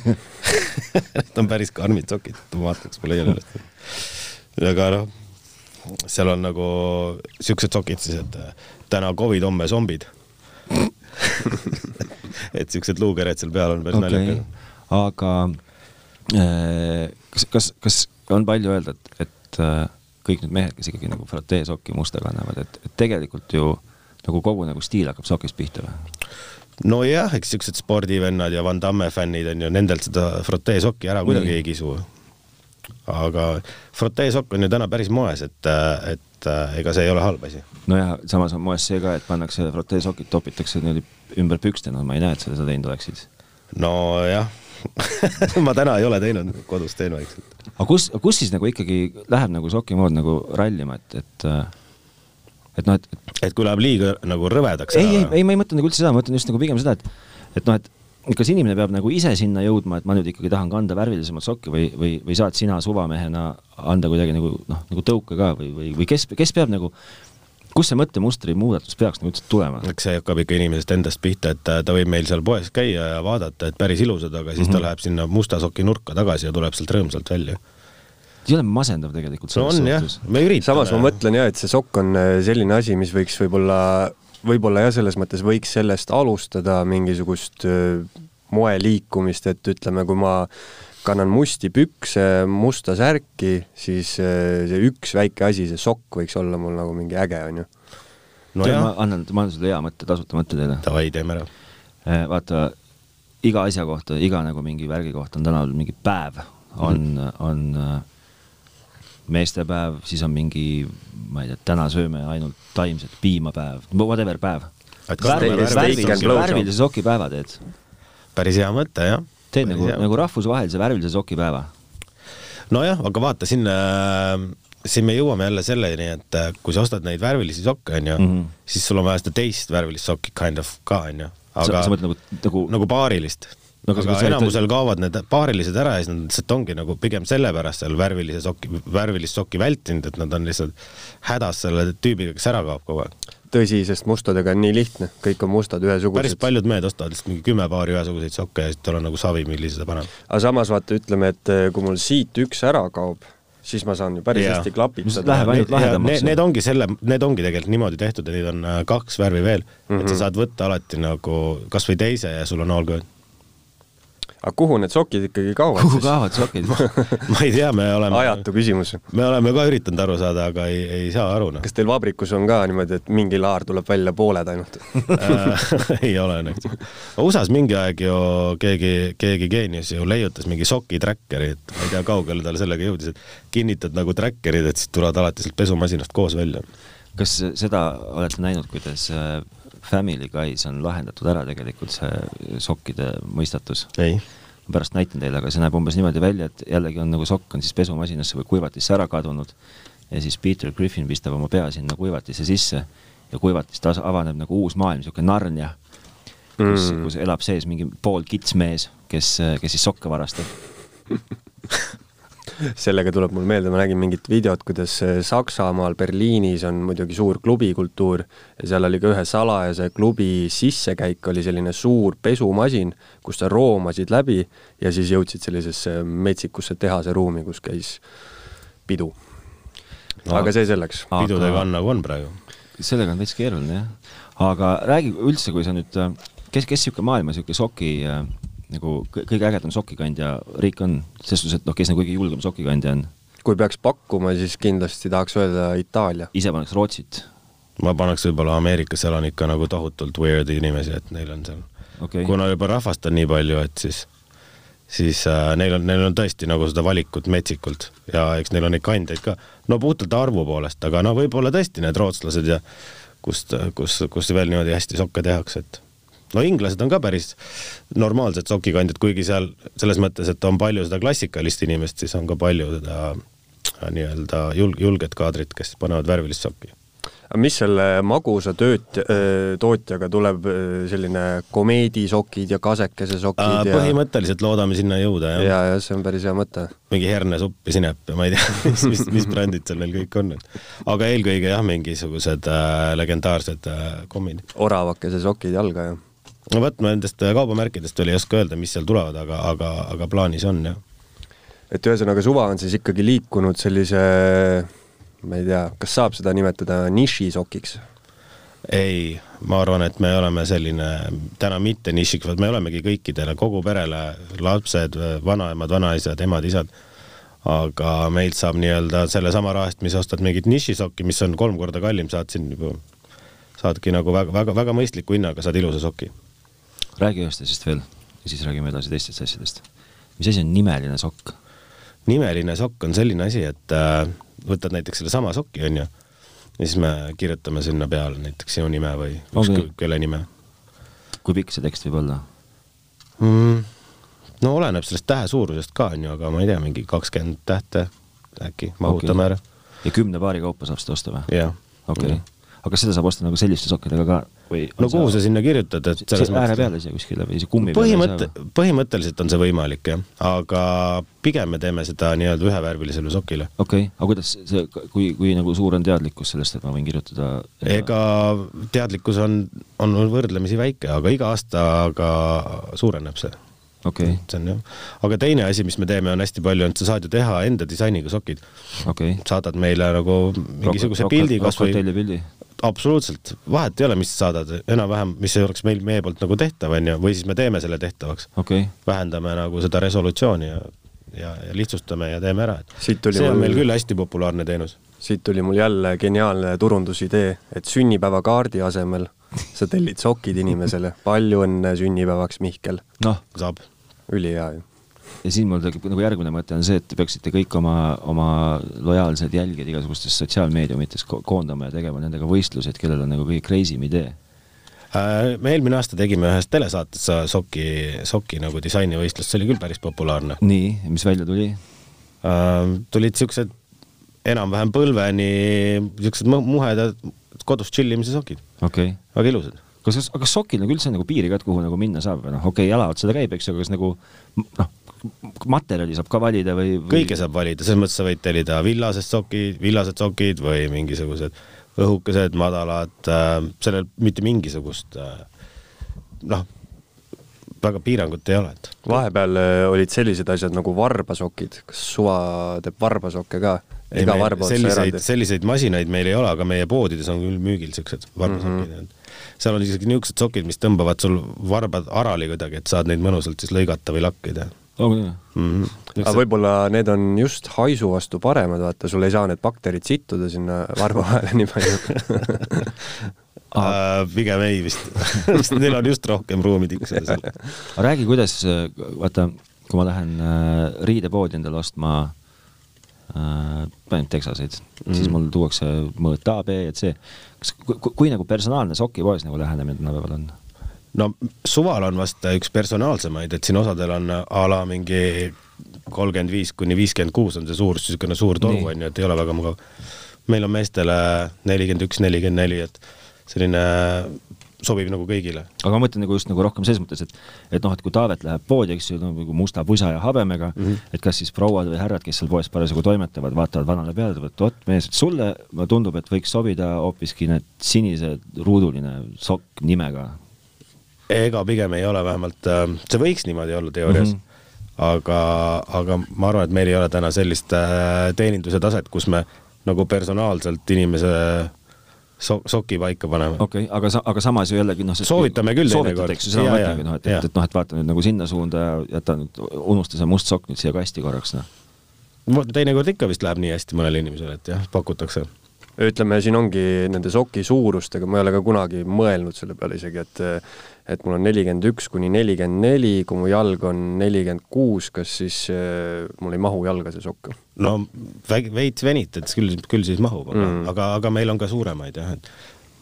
Need on päris karmid sokid, ma vaataks, ma leian üles. aga noh, seal on nagu siuksed sokid siis , et äh, täna Covid , homme zombid . et siuksed luukered seal peal on päris okay.
okei
naljakad .,
aga äh, kas , kas , kas on palju öelda , et , et äh, kõik need mehed , kes ikkagi nagu fratee sokki musta kannavad , et , et tegelikult ju nagu kogu nagu stiil hakkab sokist pihta või ?
nojah , eks siuksed spordivennad ja Van Damme fännid on ju , nendelt seda frotee sokki ära kuidagi
Nii.
ei kisu . aga frotee sokk on ju täna päris moes , et , et äh, ega see ei ole halb asi .
nojah , samas on moes see ka , et pannakse frotee sokid , topitakse niimoodi ümber pükste , no ma ei näe , et seda sa teinud oleksid .
nojah , ma täna ei ole teinud , kodus teen vaikselt .
aga kus , kus siis nagu ikkagi läheb nagu soki mood nagu rallima , et , et äh, et noh , et
et kui läheb liiga nagu rõvedaks
ei , ei , ei , ma ei mõtle nagu üldse seda , ma mõtlen just nagu pigem seda , et et noh , et kas inimene peab nagu ise sinna jõudma , et ma nüüd ikkagi tahan kanda värvilisemat sokki või , või , või saad sina suvamehena anda kuidagi nagu noh , nagu tõuke ka või , või , või kes , kes peab nagu , kus see mõttemustri muudatus peaks nagu üldse tulema ?
eks see hakkab ikka inimesest endast pihta , et ta- ta võib meil seal poes käia ja vaadata , et päris ilusad , aga siis mm -hmm. ta
Mhm.
läheb sinna musta soki nurka tagasi ja tuleb sealt rõõmsalt välja .
ei ole masendav tegelikult
no
selles
on jah
suhtes .,
me nagu. üritame .
samas ma mõtlen ja , et see sokk on äh, selline asi , mis võiks võib-olla , võib-olla jah , selles mõttes võiks sellest alustada mingisugust äh, moeliikumist , et ütleme , kui ma kannan musti pükse , musta särki , siis äh, see üks väike asi , see sokk võiks olla mul nagu mingi äge , onju .
ma
nojah ,
annan , ma annan sulle hea mõtte , tasuta mõtte teile .
davai , teeme ära .
Eh, vaata , iga asja kohta , iga nagu mingi värgi kohta on tänaval mingi päev , on , on äh, meestepäev , siis on mingi , ma ei tea , täna sööme ainult taimset piima päev , whatever päev .
Et kanname
värvilise
värvilise
värvilise-
soki päeva.
värvilise soki päeva teed ,
päris hea mõte jah .
teed nagu , nagu rahvusvahelise värvilise soki päeva .
nojah , aga vaata sinna , siin me jõuame jälle selleni , et äh, kui sa ostad neid värvilisi sokke , onju mm ,
Mhm.
-hmm. siis sul on vaja seda teist värvilist sokki kind of ka , onju .
sa ,
aga
sa mõtled nagu , nagu no,
nagu paarilist
No
no, .
aga
aga
kas sa-
enamusel kaovad need paarilised ära ja siis nad lihtsalt ongi nagu pigem sellepärast seal värvilise soki , värvilist sokki vältinud , et nad on lihtsalt hädas selle tüübiga , kes ära kaob kogu aeg .
tõsi , sest mustadega on nii lihtne , kõik on mustad
päris
ühesugused .
paljud mehed ostavad lihtsalt mingi kümme paari ühesuguseid sokke ja siis tal on nagu savi , millise ta paneb .
aga samas vaata , ütleme , et eh, kui mul siit üks ära kaob , siis ma saan ju päris
Jaa.
hästi
mis
klapitada .
läheb ainult lahedamaks
Need , need ongi selle , need ongi tegelikult niimoodi tehtud ja neid on äh, kaks värvi veel mm , -hmm.
Mhm.
et sa saad võtta alati nagu kasvõi teise ja sul on all good .
aga kuhu need sokid ikkagi kaovad
kuhu
siis ?
kaovad sokid ?
ma ei tea , me oleme ,
ajatu küsimus .
me oleme ka üritanud aru saada , aga ei , ei saa aru noh .
kas teil vabrikus on ka niimoodi , et mingi laar tuleb välja pooled ainult ?
Äh, ei ole õnneks . USA-s mingi aeg ju keegi , keegi geenius ju leiutas mingi soki trackeri , et ma ei tea , kaugele tal sellega jõudis , et kinnitad nagu trackerid , et siis tulevad alati sealt pesumasinast koos välja .
kas seda olete näinud , kuidas äh, Family Guys on lahendatud ära tegelikult see sokkide mõistatus ?
ei .
ma pärast näitan teile , aga see näeb umbes niimoodi välja , et jällegi on nagu sokk on siis pesumasinasse või kuivatisse ära kadunud ja siis Peter Griffin pistab oma pea sinna kuivatisse sisse ja kuivatist as- avaneb nagu uus maailm , niisugune Narnia , kus mm. , kus elab sees mingi pool kitsmees , kes , kes siis sokke varastab .
sellega tuleb mul meelde , ma nägin mingit videot , kuidas eh, Saksamaal Berliinis on muidugi suur klubikultuur ja seal oli ka ühe salajase klubi sissekäik oli selline suur pesumasin , kus sa roomasid läbi ja siis jõudsid sellisesse metsikusse tehase ruumi , kus käis pidu . aga see selleks .
pidudega on nagu on praegu .
sellega on veits keeruline jah , aga räägi üldse , kui sa nüüd , kes , kes niisugune maailma niisugune soki äh, nagu kõ- kõige ägedam sokikandja riik on , selles suhtes , et noh , kes nagu kõige julgem sokikandja on ,
kui peaks pakkuma , siis kindlasti tahaks öelda Itaalia .
ise paneks Rootsit ,
ma paneks võib-olla Ameerikas elan ikka nagu tohutult weird'i inimesi , et neil on seal
okei
okay. ,
okay.
kuna juba rahvast on nii palju , et siis , siis äh, neil on , neil on tõesti nagu seda valikut metsikult ja eks neil on neid kandeid ka . no puhtalt arvu poolest , aga no võib-olla tõesti need rootslased ja kust , kus , kus veel niimoodi hästi sokke tehakse , et no inglased on ka päris normaalsed sokikandjad , kuigi seal selles mõttes , et on palju seda klassikalist inimest , siis on ka palju seda äh, nii-öelda julg- , julget kaadrit , kes panevad värvilist sokki .
aga mis selle magusa tööt- , tootjaga tuleb , selline komeedisokid ja kasekesesokid ja ,
Äh, põhimõtteliselt loodame sinna jõuda , jah
ja , ja see on päris hea mõte .
mingi hernesupp ja sinep ja ma ei tea , mis, mis , mis brändid seal veel kõik on . aga eelkõige jah , mingisugused äh, legendaarsed äh, kommid .
oravakese sokid jalga ja .
no vot , ma nendest äh, kaubamärkidest veel ei oska öelda , mis seal tulevad , aga , aga , aga plaanis on jah .
et ühesõnaga suva on siis ikkagi liikunud sellise ma ei tea , kas saab seda nimetada nišisokiks ?
ei , ma arvan , et me oleme selline täna mitte nišik , vaid me olemegi kõikidele , kogu perele , lapsed , vanaemad , vanaisad , emad-isad . aga meilt saab nii-öelda sellesama raha eest , mis ostad mingit nišisokki , mis on kolm korda kallim , saad siin juba , saadki nagu väga-väga-väga mõistliku hinnaga , saad ilusa soki .
räägi ühest asjast veel ja siis räägime edasi teistest asjadest . mis asi on nimeline sokk ?
nimeline sokk on selline asi , et äh, võtad näiteks sellesama soki , onju , ja siis me kirjutame sinna peale näiteks sinu nime või
Ongi.
ükskõik kelle nime
kui pikk see tekst võib olla ?
mm, . no oleneb sellest tähe suurusest ka onju , aga ma ei tea , mingi kakskümmend tähte äkki mahutame ära .
ja kümne paari kaupa saab seda osta või ?
jah .
okei , aga kas seda saab osta nagu selliste sokkidega ka või ?
no kuhu sa sinna kirjutad , et selles
mõttes ? ääre
mõttes
peale siia kuskile või see kummi
põhimõte
peale ? ,
põhimõtteliselt on see võimalik jah , aga pigem me teeme seda nii-öelda ühevärvilisele sokile .
okei okay. , aga kuidas see , kui , kui nagu suur on teadlikkus sellest , et ma võin kirjutada ?
ega teadlikkus on , on võrdlemisi väike , aga iga aastaga suureneb see .
okei ,
see on jah , aga teine asi , mis me teeme , on hästi palju , et sa saad ju teha enda disainiga sokid ,
okei .
saadad meile nagu mingisuguse pildi kasvõi
hotelli pildi ,
absoluutselt , vahet ei ole , mis sa saadad , enam-vähem , mis ei oleks meil meie poolt nagu tehtav , onju , või siis me teeme selle tehtavaks ,
okei .
vähendame nagu seda resolutsiooni ja , ja , ja lihtsustame ja teeme ära , et
siit tuli
see on meil
mul ,
küll hästi populaarne teenus .
siit tuli mul jälle geniaalne turundusidee , et sünnipäevakaardi asemel sa tellid sokid inimesele . palju õnne sünnipäevaks , Mihkel .
noh ,
saab ,
ülihea ju .
ja siin mul tekib nagu järgmine mõte on see , et te peaksite kõik oma , oma lojaalsed jälgijad igasugustes sotsiaalmeediumites ko koondama ja tegema nendega võistluseid , kellel on nagu kõige crazy im idee .
Äh, me eelmine aasta tegime ühes telesaates soki , soki nagu disainivõistlust , see oli küll päris populaarne .
nii , mis välja tuli ?
tulid siuksed enam-vähem põlveni siuksed mu- muhedad kodus tšillimise sokid ,
okei okay. .
väga ilusad .
kas , kas , kas sokil nagu üldse on nagu piiri ka , et kuhu nagu minna saab või noh , okei okay, , jala otsa ta käib , eks ju , aga kas nagu m- noh , materjali saab ka valida või, või... ?
kõike saab valida , selles mõttes sa võid tellida villased sokid , villased sokid või mingisugused õhukesed , madalad äh, , sellel mitte mingisugust äh, noh , väga piirangut ei ole , et
vahepeal öö, olid sellised asjad nagu varbasokid , kas suva teeb varbasokke ka ?
Ei,
iga
meil
varba otsa
selliseid ,
eraldi .
selliseid masinaid meil ei ole , aga meie poodides on küll müügil siuksed varbasokid mm .
Mhm.
-hmm. seal on isegi niisugused sokid , mis tõmbavad sul varbad arali kuidagi , et saad neid mõnusalt siis lõigata või lakkida
on küll jah.
mm .
aga
-hmm.
võib-olla need on just haisu vastu paremad , vaata , sul ei saa need bakterid sittuda sinna varba vahele nii palju .
Äh, pigem ei vist , sest neil on just rohkem ruumi tiksuda seal .
aga räägi , kuidas , vaata , kui ma lähen äh, riidepoodi endale ostma äh, , ainult teksaseid mm. , siis mul tuuakse mõõt A , B ja C . kas , kui, kui nagu personaalne sokipoes nagu lähenemine tänapäeval on ?
no suval on vast üks personaalsemaid , et siin osadel on a la mingi kolmkümmend viis kuni viiskümmend kuus on see suurus , niisugune suur toru
Nii.
on ju , et ei ole väga mugav . meil on meestele nelikümmend üks , nelikümmend neli , et selline sobib nagu kõigile .
aga ma mõtlen nagu just nagu rohkem selles mõttes , et , et noh , et kui Taavet läheb poodi , eks ju , nagu musta pusa ja habemega mm , -hmm. et kas siis prouad või härrad , kes seal poes parasjagu toimetavad , vaatavad vanale peale , ütlevad , et vot mees , et sulle mulle tundub , et võiks sobida hoopiski need sinised ruuduline sokk nimega .
ega pigem ei ole vähemalt , see võiks niimoodi olla teoorias mm , -hmm. aga , aga ma arvan , et meil ei ole täna sellist äh, teeninduse taset , kus me nagu personaalselt inimese so soki paika paneme .
okei okay, , aga sa , aga samas ju jällegi noh ,
Soovitame küll
teinekord .
teinekord.
eks ju , seda ma
Jaa,
mõtlengi
jaa,
noh , et ,
jaa.
et , et noh , et vaata nüüd nagu sinna suunda ja jäta nüüd , unusta see must sokk nüüd siia kasti korraks noh .
Vot teinekord ikka vist läheb nii hästi mõnele inimesele , et jah , pakutakse .
ütleme , siin ongi nende soki suurustega , ma ei ole ka kunagi mõelnud selle peale isegi , et et mul on nelikümmend üks kuni nelikümmend neli , kui mu jalg on nelikümmend kuus , kas siis eh, mul ei mahu jalga see sokk ?
no väg- veits venitad , küll , küll siis mahub , aga mm. , aga , aga meil on ka suuremaid jah , et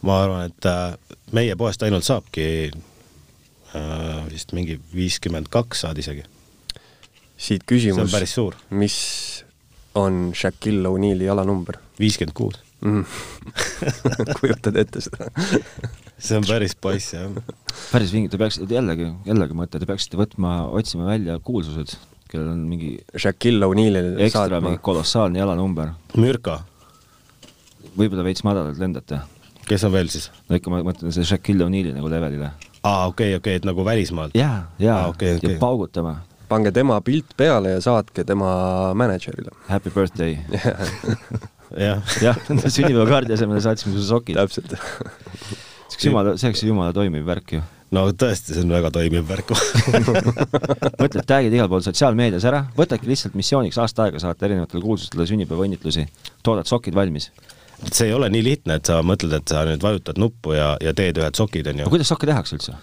ma arvan , et äh, meie poest ainult saabki äh, vist mingi viiskümmend kaks saad isegi .
siit
see on
küsimus ,
päris suur ,
mis on Shaquille O'Neali jalanumber
viiskümmend kuus .
mm. ? kujutad ette seda ?
see on päris poiss jah .
päris vinge , te peaksite jällegi , jällegi mõte , te peaksite võtma , otsima välja kuulsused , kellel on mingi
Shaquille O'Nealile
ekstra
saatma
mingi kolossaalne jalanumber ,
Mürka ,
võib-olla veits madalalt lendate .
kes on veel siis ?
no ikka ma mõtlen selle Shaquille O'Neali nagu levelile .
aa , okei , okei , et nagu välismaalt .
ja , ja
Aa, , Ah, okei, okei.
ja paugutama .
pange tema pilt peale ja saatke tema mänedžerile .
Happy birthday .
jah ,
jah , sünnipäevakaardi asemele saatsime sulle sokid .
täpselt .
see oleks jumala , see oleks jumala toimiv värk ju .
no tõesti , see on väga toimiv värk .
mõtled , tag'id igal pool sotsiaalmeedias ära , võtadki lihtsalt missiooniks aasta aega saata erinevatele kuulsustele sünnipäevaõnnitlusi , toodad sokid valmis .
see ei ole nii lihtne , et sa mõtled , et sa nüüd vajutad nuppu ja , ja teed ühed sokid ,
aga
onju .
kuidas sokke tehakse üldse ?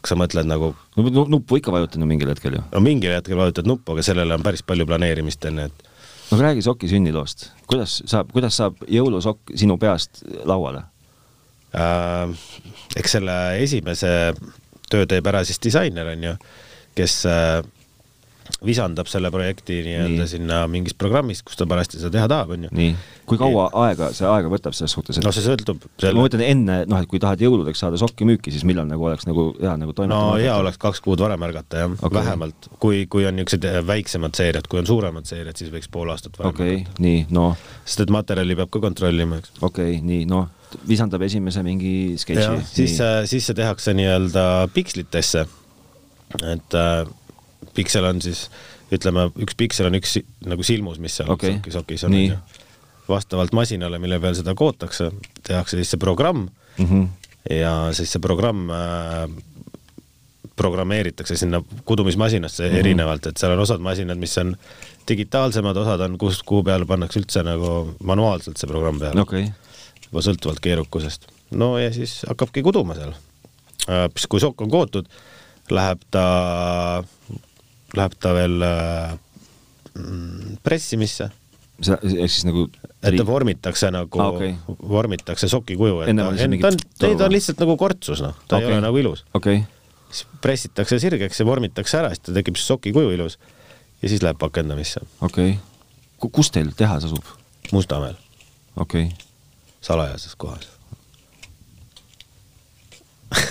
kas sa mõtled nagu ,
no nu- nuppu ikka vajutanud mingil hetkel ju .
no mingil hetkel vajutad nuppu , aga sellele on päris palju planeerimist enne , et
no aga räägi soki sünniloost , kuidas saab , kuidas saab jõulusokk sinu peast lauale ?
äh, eks selle esimese töö teeb ära siis disainer , on ju , kes äh, visandab selle projekti nii-öelda
Nii.
sinna mingis programmis , kus ta parajasti seda teha tahab , on ju .
nii , kui kaua aega see aega võtab selles suhtes , et
no see sõltub
ma
selle ,
mõtlen enne , noh , et kui tahad jõuludeks saada sokki müüki , siis millal nagu oleks nagu hea nagu
no
toimetada ?
hea . oleks kaks kuud varem ärgata jah
Okei.
okay. , vähemalt , kui , kui on niisugused äh, väiksemad seeriad , kui on suuremad seeriad , siis võiks pool aastat varem
okei
ärgata. ,
nii , noh ,
sest et materjali peab ka kontrollima , eks .
okei okay, , nii , noh , visandab esimese mingi
jah
sketši .,
siis , siis see tehakse nii-öelda pikslitesse . et äh, piksel on siis , ütleme , üks piksel on üks si- nagu silmus , mis seal
Okei.
okay. sokis, sokis on
Nii. .
vastavalt masinale , mille peal seda kootakse , tehakse siis see programm
mm . -hmm.
ja siis see programm äh, programmeeritakse sinna kudumismasinasse
Mhm.
mm -hmm. erinevalt , et seal on osad masinad , mis on digitaalsemad , osad on , kus , kuhu peale pannakse üldse nagu manuaalselt see programm peale
okei okay. ,
juba sõltuvalt keerukusest . no ja siis hakkabki kuduma seal . siis kui sokk on kootud , läheb ta , läheb ta veel äh, mm, pressimisse ,
see ehk siis nagu
et ta vormitakse nagu
Aa, Ah, okei.
vormitakse soki kuju , et
Enne
ta,
oli see mingi
ta on , ei ta
torva.
on lihtsalt nagu kortsus noh , ta okay.
Okei.
ei ole nagu ilus .
okei okay. ,
siis pressitakse sirgeks ja vormitakse ära , siis ta tekib siis soki kuju ilus ja siis läheb pakendamisse
okei okay. . kus teil tehas asub ?
Mustamäel ,
okei okay. ,
salajases kohas .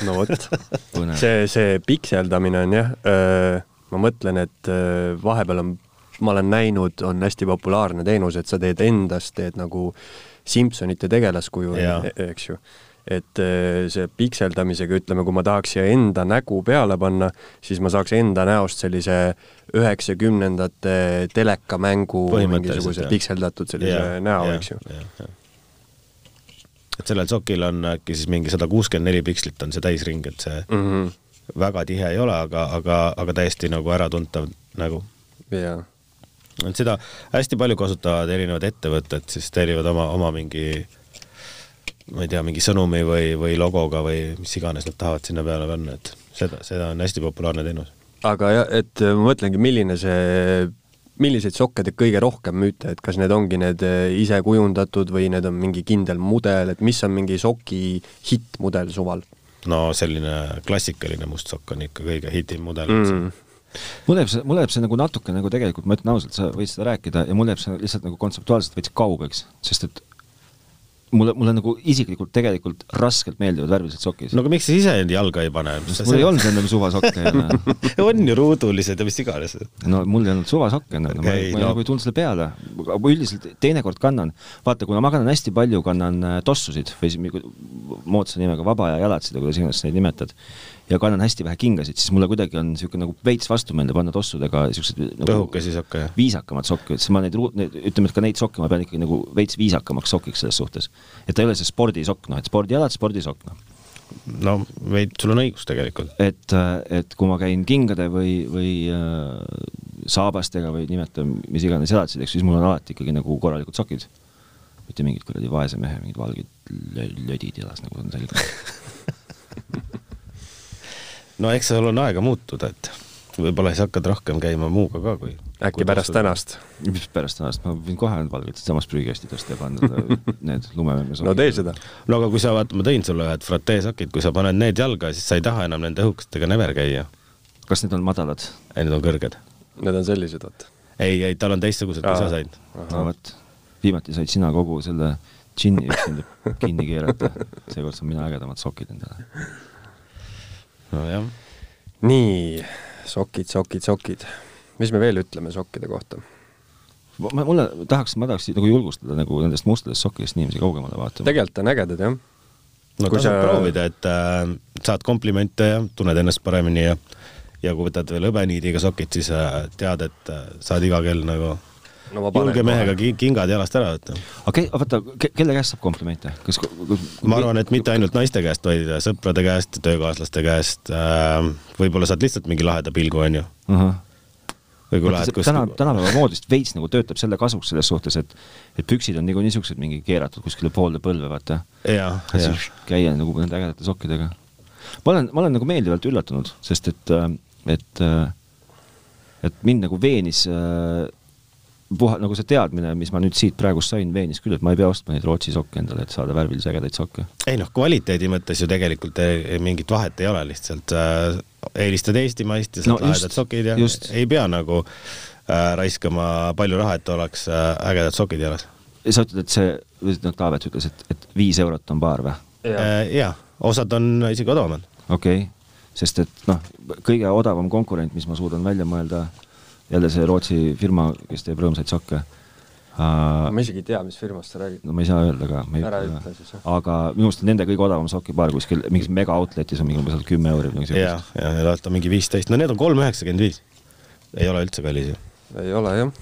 no vot .
põnev .
see , see pikseldamine on jah , ma mõtlen , et öö, vahepeal on , ma olen näinud , on hästi populaarne teenus , et sa teed endast , teed nagu Simsonite tegelaskuju e-,
Jaa. ,
eks ju . et öö, see pikseldamisega , ütleme , kui ma tahaks siia enda nägu peale panna , siis ma saaks enda näost sellise üheksakümnendate telekamängu
Põhimõtteliselt,
mingisuguse
jah.
pikseldatud sellise yeah, näo yeah. , eks ju ..
et sellel sokil on äkki siis mingi sada kuuskümmend neli pikslit on see täisring , et see
mm . -hmm.
väga tihe ei ole , aga , aga , aga täiesti nagu äratuntav nagu .
Yeah.
et seda hästi palju kasutavad erinevad ettevõtted , siis tellivad oma , oma mingi ma ei tea , mingi sõnumi või , või logoga või mis iganes nad tahavad sinna peale panna , et seda , seda on hästi populaarne teenus .
aga jah , et äh, ma mõtlengi , milline see , milliseid sokke te kõige rohkem müüte , et kas need ongi need eh, ise kujundatud või need on mingi kindel mudel , et mis on mingi soki hittmudel suval
no selline klassikaline must sokk on ikka kõige hitim mudel mm. .
mm. ?
mul jääb see , mul jääb see nagu natuke nagu tegelikult , ma ütlen ausalt , sa võid seda rääkida ja mul jääb see lihtsalt nagu kontseptuaalselt veits kaugeks , sest et mulle , mulle nagu isiklikult tegelikult raskelt meeldivad värvilised sokid
no
no, .
aga miks sa ise end jalga ei pane ?
mul ei olnud ennem suvasokke enne .
on ju ruudulised ja mis iganes .
no mul ei olnud suvasokke enam okay, , ma,
Okei,
ma no.
no.
nagu ei tulnud selle peale , aga ma üldiselt teinekord kannan , vaata , kuna ma kannan hästi palju , kannan äh, tossusid või siis mingi moodsa nimega vaba aja jalatsid või kuidas iganes sa neid nimetad , ja kannan hästi vähe kingasid , siis mulle kuidagi on niisugune nagu veits vastumeelne panna tossudega niisuguseid nagu
tõhukesi sokke , jah .
viisakamad sokke , sest ma neid, ruu- neid , ütleme , et ka neid sokke ma pean ikkagi nagu veits viisakamaks sokiks selles suhtes . et ta ei ole see spordisokk , noh , et spordijalad , spordisokk , noh
no veid , sul on õigus tegelikult .
et , et kui ma käin kingade või , või äh, saabastega või nimeta mis iganes jalatsid , eks siis mul on alati ikkagi nagu korralikud sokid . mitte mingid kuradi vaese mehe mingid valged lö- lödid jalas , nagu on selge .
no eks sul on aega muutuda , et võib-olla siis hakkad rohkem käima muuga ka , kui
äkki
kui
pärast
tossu-
tänast ?
mis pärast tänast , ma võin kohe need valged siitsamast prügikasti tõsta ja panna seda- need lumememme
no
sokid .
tee seda .
no aga kui sa , vaata , ma tõin sulle ühed frateesokid , kui sa paned need jalga , siis sa ei taha enam nende õhukestega never käia .
kas need on madalad ?
ei , need on kõrged .
Need on sellised , vot .
ei , ei , tal on teistsugused , kui
Aa.
sa said .
no vot , viimati said sina kogu selle džinni üksinda kinni keerata , seekord saan mina ägedamad sokid endale .
nojah .
nii , sokid , sokid , sokid . mis me veel ütleme sokkide kohta ?
ma , mulle tahaks , ma tahaks nagu julgustada nagu nendest mustadest sokkidest inimesi kaugemale vaatama .
tegelikult on ägedad , jah .
no
Kui
tasub
sa-
sa... proovida , et äh, saad komplimente ja tunned ennast paremini ja ja kui võtad veel hõbeniidiga sokid , siis äh, tead , et äh, saad iga kell nagu
No ma panen
julge mehega
kohe.
ki- kingad jalast ära võtta .
okei , oota , kelle käest saab komplimente , kas ku- ku- ku-
ma arvan , et mitte ainult naiste käest , vaid äh, sõprade käest , töökaaslaste käest äh, . võib-olla saad lihtsalt mingi laheda pilgu , onju .
ahah.
või kui
Vaata,
lähed
see täna ,
kuskile .
tänapäeva mood vist veits nagu töötab selle kasuks selles suhtes , et , et püksid on niikuinii siuksed mingi keeratud kuskile poolde põlve , vaata .
jah ,
ja
jah
siis . käia nagu nende ägedate sokkidega . ma olen , ma olen nagu meeldivalt üllatunud , sest et , et , et mind nagu veenis äh, puha , nagu see teadmine , mis ma nüüd siit praegust sain , veenis küll , et ma ei pea ostma neid Rootsi sokke endale , et saada värvilisi ägedaid sokke .
ei noh , kvaliteedi mõttes ju tegelikult ei, ei- mingit vahet ei ole , lihtsalt äh, eelistad eestimaist ja
No
saad no,
just,
lahedad sokid ja
just.
ei pea nagu äh, raiskama palju raha , et oleks äh, ägedad sokid jalas
sa ütled , et see , noh , Taavet ütles , et , et viis eurot on paar või ?
jah ,
äh, . jaa , osad on isegi odavamad .
okei okay. , sest et noh , kõige odavam konkurent , mis ma suudan välja mõelda , jälle see Rootsi firma , kes teeb rõõmsaid sokke uh, .
ma isegi ei tea , mis firmast sa räägid .
no ma ei saa öelda ka , ma ei
Ära ütle siis, jah.
aga minu arust nende kõige odavam sokipaar kuskil mingis mega outlet'is on mingi umbes kümme euri või midagi
ja ,
sellist .
ja need vaata mingi viisteist , no need on kolm üheksakümmend viis . ei ole üldse kallis ju .
ei ole jah .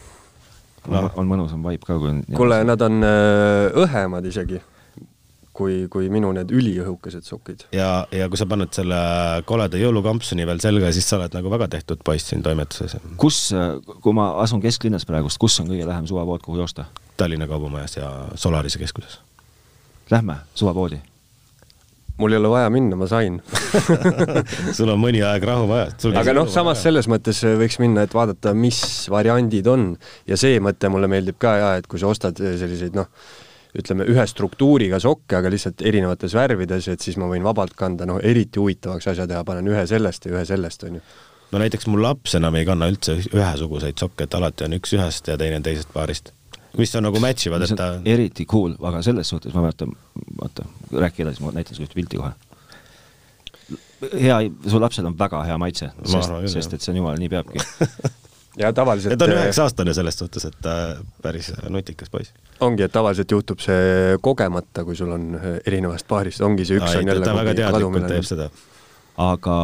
No. on mõnusam vibe ka , kui on .
kuule ,. nad on öö, õhemad isegi kui , kui minu need üliõhukesed sokid .
ja , ja kui sa paned selle koleda jõulukampsuni veel selga , siis sa oled nagu väga tehtud poiss siin toimetuses .
kus , kui ma asun kesklinnas praegust , kus on kõige lähem suvapood , kuhu joosta ?
Tallinna Kaubamajas ja Solarise keskuses .
Lähme suvapoodi .
mul ei ole vaja minna , ma sain .
sul on mõni aeg rahu vaja .
aga noh , samas selles mõttes võiks minna , et vaadata , mis variandid on ja see mõte mulle meeldib ka ja et kui sa ostad selliseid noh , ütleme ühe struktuuriga sokke , aga lihtsalt erinevates värvides , et siis ma võin vabalt kanda , noh eriti huvitavaks asja teha , panen ühe sellest ja ühe sellest , on ju .
no näiteks mu laps enam ei kanna üldse üh- ühesuguseid sokke , et alati on üks ühest ja teine teisest paarist . mis on nagu match ivad , et ta
eriti cool , aga selles suhtes ma mäletan , oota , räägi edasi , ma näitan sulle ühte pilti kohe . hea , su lapsel on väga hea maitse , sest
arvan , küll,
sest
jah.
et see on jumala nii peabki .
ja tavaliselt
ja ta on üheksa-aastane selles suhtes , et ta päris nutikas poiss .
äh, ongi , et tavaliselt juhtub see kogemata , kui sul on äh, erinevast paarist , ongi see üks
ta
on jälle
ta väga
kuhugi kaduma
teadlikult
läinud.
teeb seda .
aga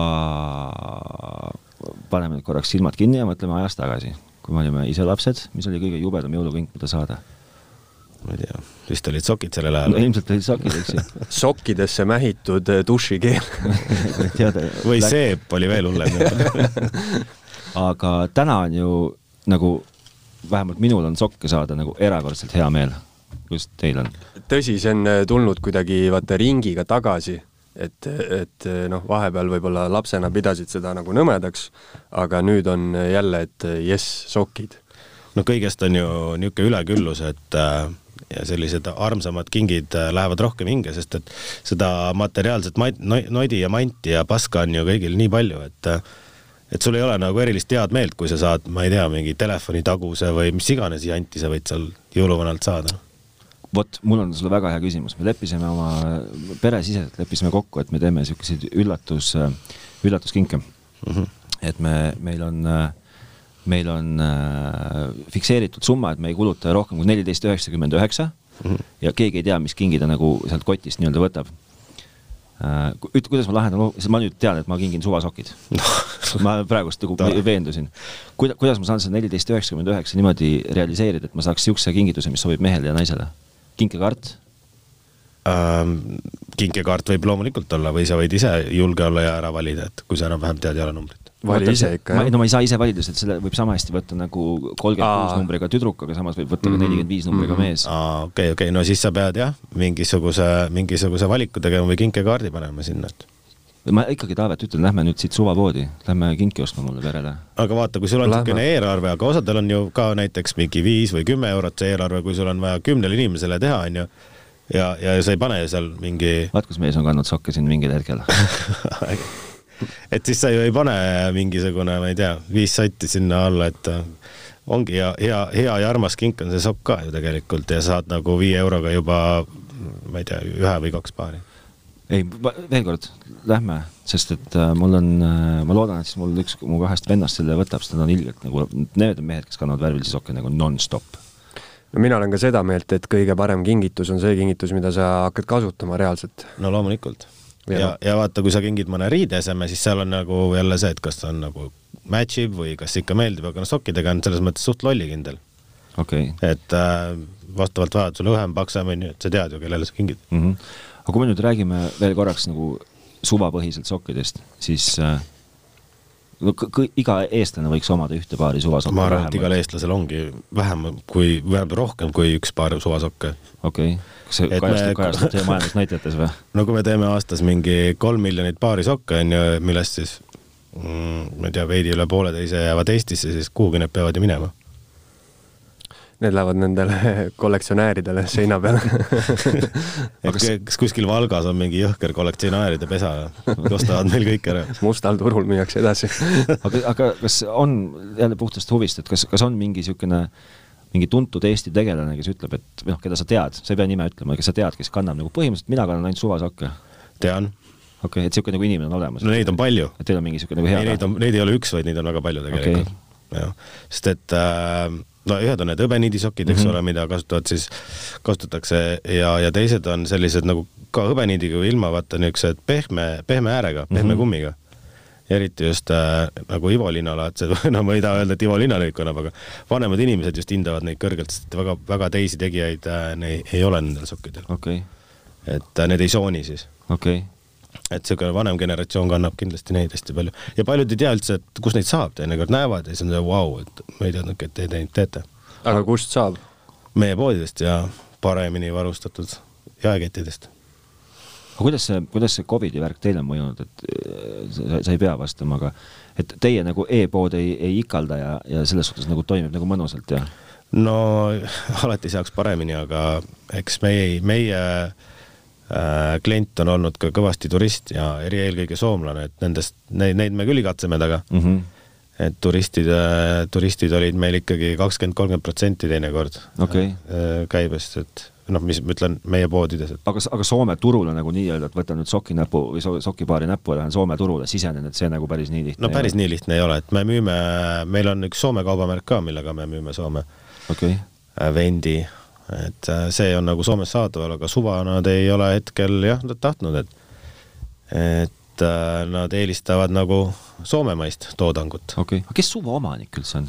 paneme nüüd korraks silmad kinni ja mõtleme ajas tagasi , kui me olime ise lapsed , mis oli kõige jubedam jõulukink , mida saada ?
ma ei tea , vist olid sokid sellel
no
ajal .
ilmselt olid sokid , eks ju .
sokkidesse mähitud eh, dušikeel
tead ,
või . seep oli veel hullem .
aga täna on ju nagu , vähemalt minul on sokke saada nagu erakordselt hea meel . kuidas teil on ?
tõsi , see on eh, tulnud kuidagi vaata ringiga tagasi , et , et eh, noh , vahepeal võib-olla lapsena pidasid seda nagu nõmedaks , aga nüüd on eh, jälle , et eh, jess , sokid .
no kõigest on ju niisugune üleküllus , et äh, ja sellised armsamad kingid äh, lähevad rohkem hinge , sest et seda materiaalset mait- , nodi ja manti ja paska on ju kõigil nii palju , et äh, et sul ei ole nagu erilist head meelt , kui sa saad , ma ei tea , mingi telefonitaguse või mis iganes janti sa võid seal jõuluvanalt saada .
vot , mul on sulle väga hea küsimus , me leppisime oma , peresiseselt leppisime kokku , et me teeme siukseid üllatus , üllatuskinke mm . -hmm. et me , meil on , meil on äh, fikseeritud summa , et me ei kuluta rohkem kui neliteist üheksakümmend üheksa ja keegi ei tea , mis kingi ta nagu sealt kotist nii-öelda võtab . üt- , kuidas ma lahendan , sest ma nüüd tean , et ma kingin suvasokid . ma praegust nagu
Tore.
veendusin . kuida- , kuidas ma saan seda neliteist üheksakümmend üheksa niimoodi realiseerida , et ma saaks siukse kingituse , mis sobib mehele ja naisele ? kinkekart
Ähm, kinkekaart võib loomulikult olla või sa võid ise julge olla ja ära valida , et kui sa enam-vähem tead jalanumbrit .
vali
Vaata,
ise
see-
ikka ,
ma-
jah .
no ma ei saa ise valida , sest selle võib sama hästi võtta nagu kolmkümmend kuus
Aa. Mhm.
numbriga tüdruk , aga samas võib võtta ka nelikümmend viis numbriga mees .
aa , okei okay, , okei okay. , no siis sa pead jah , mingisuguse , mingisuguse valiku tegema või kinkekaardi panema sinna , et
ma ikkagi Taavet ütlen , lähme nüüd siit suvapoodi , lähme kinki ostma mulle perele .
aga vaata , kui sul on
Lähme.
niisugune eelarve , aga osadel on ju ka näiteks mingi viis või kümme eurot see eelarve , kui sul on vaja kümnele inimesele teha , on ju , ja , ja sa ei pane ju seal mingi ,
vaat kus mees on kandnud sokke siin mingil hetkel .
et siis sa ju ei pane mingisugune , ma ei tea , viis sotti sinna alla , et äh, ongi ja hea , hea ja armas kink on see sokk ka ju tegelikult ja saad nagu viie euroga juba ma ei tea , ühe või kaks paari .
ei , veel kord , lähme , sest et äh, mul on , ma loodan , et siis mul üks mu kahest vennast selle võtab , sest nad on ilgelt nagu , need on mehed , kes kannavad värvilisi sokke nagu nonstop .
no mina olen ka seda meelt , et kõige parem kingitus on see kingitus , mida sa hakkad kasutama reaalselt .
no loomulikult .
Ja
ja
noh. ,
ja vaata , kui sa kingid mõne riideeseme , siis seal on nagu jälle see , et kas ta on nagu match ib või kas ikka meeldib , aga noh , sokkidega on selles mõttes suht lollikindel .
okei
et äh, vastavalt vajadusele õhem, paksem on ju , et sa tead ju , kellele sa kingid .
mm . -hmm. aga kui me nüüd räägime veel korraks nagu suvapõhiselt sokkidest , siis äh, no kõ- kõ- iga eestlane võiks omada ühte paari suvasokka
ma arvan , et igal . eestlasel ongi vähem kui , vähemalt rohkem kui üks paar suvasokke .
okei , kas see
e- Et
kajastub
me-
me... , kajastub teie majandusnäitajates või ?
no kui me teeme aastas mingi kolm miljonit paari sokke , on ju , millest siis mm, ma ei tea , veidi üle pooleteise jäävad Eestisse , siis kuhugi need peavad ju minema .
Need lähevad nendele kollektsionääridele seina peale .
et
Aga see-
kas... kas kuskil Valgas on mingi jõhker kollektsionääride pesa ja ostavad meil kõik ära ?
mustal turul müüakse edasi .
aga , aga kas on jälle puhtast huvist , et kas , kas on mingi niisugune , mingi tuntud Eesti tegelane , kes ütleb , et või noh , keda sa tead , sa ei pea nime ütlema , kes sa tead , kes kannab nagu põhimõtteliselt , mina kannan ainult suvasokke .
tean ,
okei okay, , et niisugune nagu inimene on olemas
no . neid on palju .
et teil on mingi niisugune nagu
ei ,
hea
neid . on , neid ei ole üks , vaid neid on väga palju tegelikult okay. . jah , sest et äh, no ühed on need hõbeniidisokid ,
Mhm.
eks mm -hmm. ole , mida kasutavad siis , kasutatakse ja , ja teised on sellised nagu ka hõbeniidiga või ilma , vaata niisugused pehme , pehme äärega , pehme mm
Mhm.
-hmm. kummiga . eriti just äh, nagu Ivo linnalaadsed , no ma ei taha öelda , et Ivo linnalõik annab , aga vanemad inimesed just hindavad neid kõrgelt , sest väga , väga teisi tegijaid äh, nei, ei ole nendel sokkidel .
okei ,
et äh, need ei sooni siis
okei ,
et niisugune vanem generatsioon kannab kindlasti neid hästi palju ja paljud ei tea üldse , et kus neid saab , teinekord näevad ja siis on see vau , et ma ei teadnudki , et te neid teete .
aga kust saab ?
meie poodidest ja paremini varustatud jaekettidest .
aga kuidas see , kuidas see Covidi värk teile on mõjunud , et eh, sa, sa ei pea vastama , aga et teie nagu e-pood ei , ei ikalda ja , ja selles suhtes nagu toimib nagu mõnusalt ja
no alati saaks paremini , aga eks meie , meie äh, klient on olnud ka kõvasti turist ja eri eelkõige soomlane , et nendest , neid , neid me küll igatseme taga ,
mm . -hmm.
et turistid , turistid olid meil ikkagi kakskümmend , kolmkümmend protsenti teinekord
Okei.
äh, käibest , et noh , mis ma ütlen meie poodides , et
aga , aga Soome turule nagu nii-öelda , et võtan nüüd soki näpu või so, sokipaari näppu ja lähen Soome turule , sisenen , et see nagu päris nii lihtne
no päris . nii lihtne ei ole , et me müüme , meil on üks Soome kaubamärk ka , millega me müüme Soome
okei okay. ,
äh, vendi , et äh, see on nagu Soomes saadaval , aga suva nad ei ole hetkel jah , nad tahtnud , et et äh, nad eelistavad nagu soomemaist toodangut .
okei okay. , aga kes suva omanik üldse on ?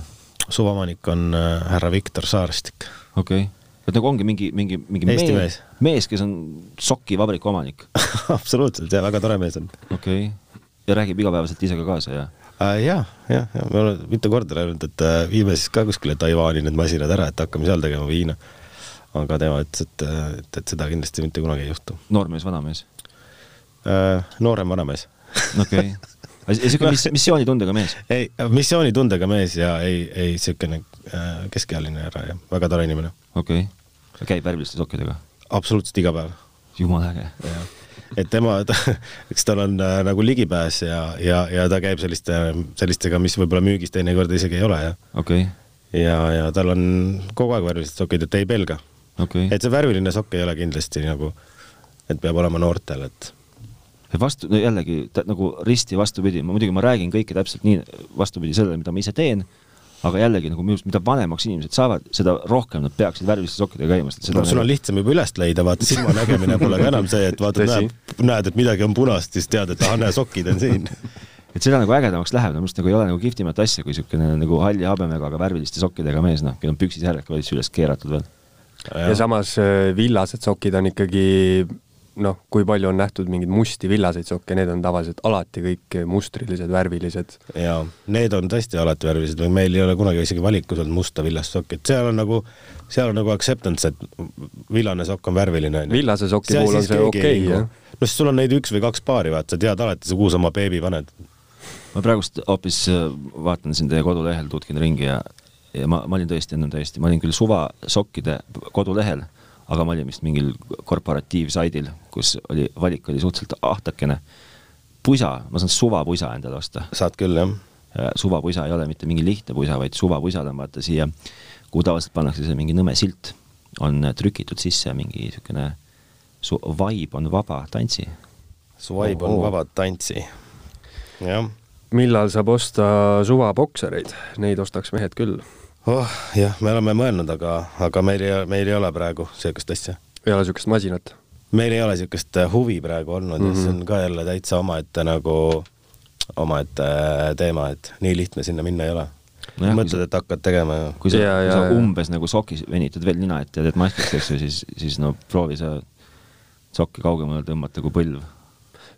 suvaomanik on äh, härra Viktor Saarstik .
okei okay. , et nagu ongi mingi , mingi , mingi
Eesti
mees, mees , kes on sokivabriku omanik ,
absoluutselt , jaa , väga tore mees on
okei okay. , ja räägib igapäevaselt ise ka kaasa ja
äh, . jaa , jah , jah , me oleme mitu korda rääkinud , et äh, viime siis ka kuskile Taiwan'i need masinad ära , et hakkame seal tegema viina . aga tema ütles , et , et , et seda kindlasti mitte kunagi ei juhtu
noormees , vanamees ,
Äh, noorem vanamees .
okei okay. . niisugune mis, missioonitundega mees ,
ei , missioonitundega mees ja ei , ei niisugune äh, keskealine härra ja väga tore inimene .
okei okay. . käib värviliste sokkidega ,
absoluutselt iga päev .
jumala äge .
et tema ta, , eks tal on äh, nagu ligipääs ja , ja , ja ta käib selliste , sellistega , mis võib-olla müügis teinekord isegi ei ole ja ,
okei okay. ,
ja , ja tal on kogu aeg värvilised sokid , et ei pelga .
okei okay. .
et see värviline sokk ei ole kindlasti nagu , et peab olema noortel , et
vastu , no jällegi ta, nagu risti vastupidi , ma muidugi , ma räägin kõike täpselt nii vastupidi sellele , mida ma ise teen , aga jällegi nagu minu arust , mida vanemaks inimesed saavad , seda rohkem nad peaksid värviliste sokkidega käima , sest seda
no
nagu
noh, sul on lihtsam juba üles leida , vaata silmanägemine pole ka enam see , et vaatad ,
Tõsi.
näed , näed , et midagi on punast , siis tead , et ahah , näe , sokid on siin .
et seda nagu ägedamaks läheb , no minu arust nagu ei ole nagu kihvtimat asja , kui niisugune nagu halli habemega , aga värviliste sokkidega mees , noh , kellel on püksid järjekord veits üles keeratud veel .
ja samas äh, villased sokid on ikkagi noh , kui palju on nähtud mingeid musti villaseid sokke , need on tavaliselt alati kõik mustrilised , värvilised .
jaa , need on tõesti alati värvilised või meil ei ole kunagi isegi valikus olnud musta villast sokki , et seal on nagu , seal on nagu acceptance , et villane sokk on värviline .
Villase soki puhul on see okei, jah.
no siis sul on neid üks või kaks paari , vaata , sa tead alati , kuhu sa oma beebi paned .
ma praegust hoopis äh, vaatan siin teie kodulehel , tutkin ringi ja , ja ma , ma olin tõesti ennem täiesti , ma olin küll suvasokkide kodulehel , aga ma olin vist mingil korporatiivsaidil , kus oli , valik oli suhteliselt ahtakene . pusa , ma saan suvapusa endale osta .
saad küll , jah .
suvapusa ei ole mitte mingi lihtne pusa , vaid suvapusa on vaata siia , kuhu tavaliselt pannakse see mingi nõme silt , on trükitud sisse mingi niisugune su- , vibe on vaba , tantsi .
Swipe on
Ohoo.
vabad tantsi . jah
millal saab osta suvaboksereid , neid ostaks mehed küll .
oh jah , me oleme mõelnud , aga , aga meil ei , meil ei ole praegu sihukest asja .
ei ole niisugust masinat .
meil ei ole sihukest huvi praegu olnud mm , -hmm.
Mhm.
see on ka jälle äh, täitsa omaette nagu , omaette teema , et nii lihtne sinna minna ei ole .
Nojah, kui sa-
mõtled , et hakkad tegema ja
kui sa,
Jaa,
kui
jaa,
sa
jaa.
umbes nagu sokis venitad veel nina ette ja teed maskiks , eks ju , siis , siis no proovi sa sokki kaugemale tõmmata kui põlv .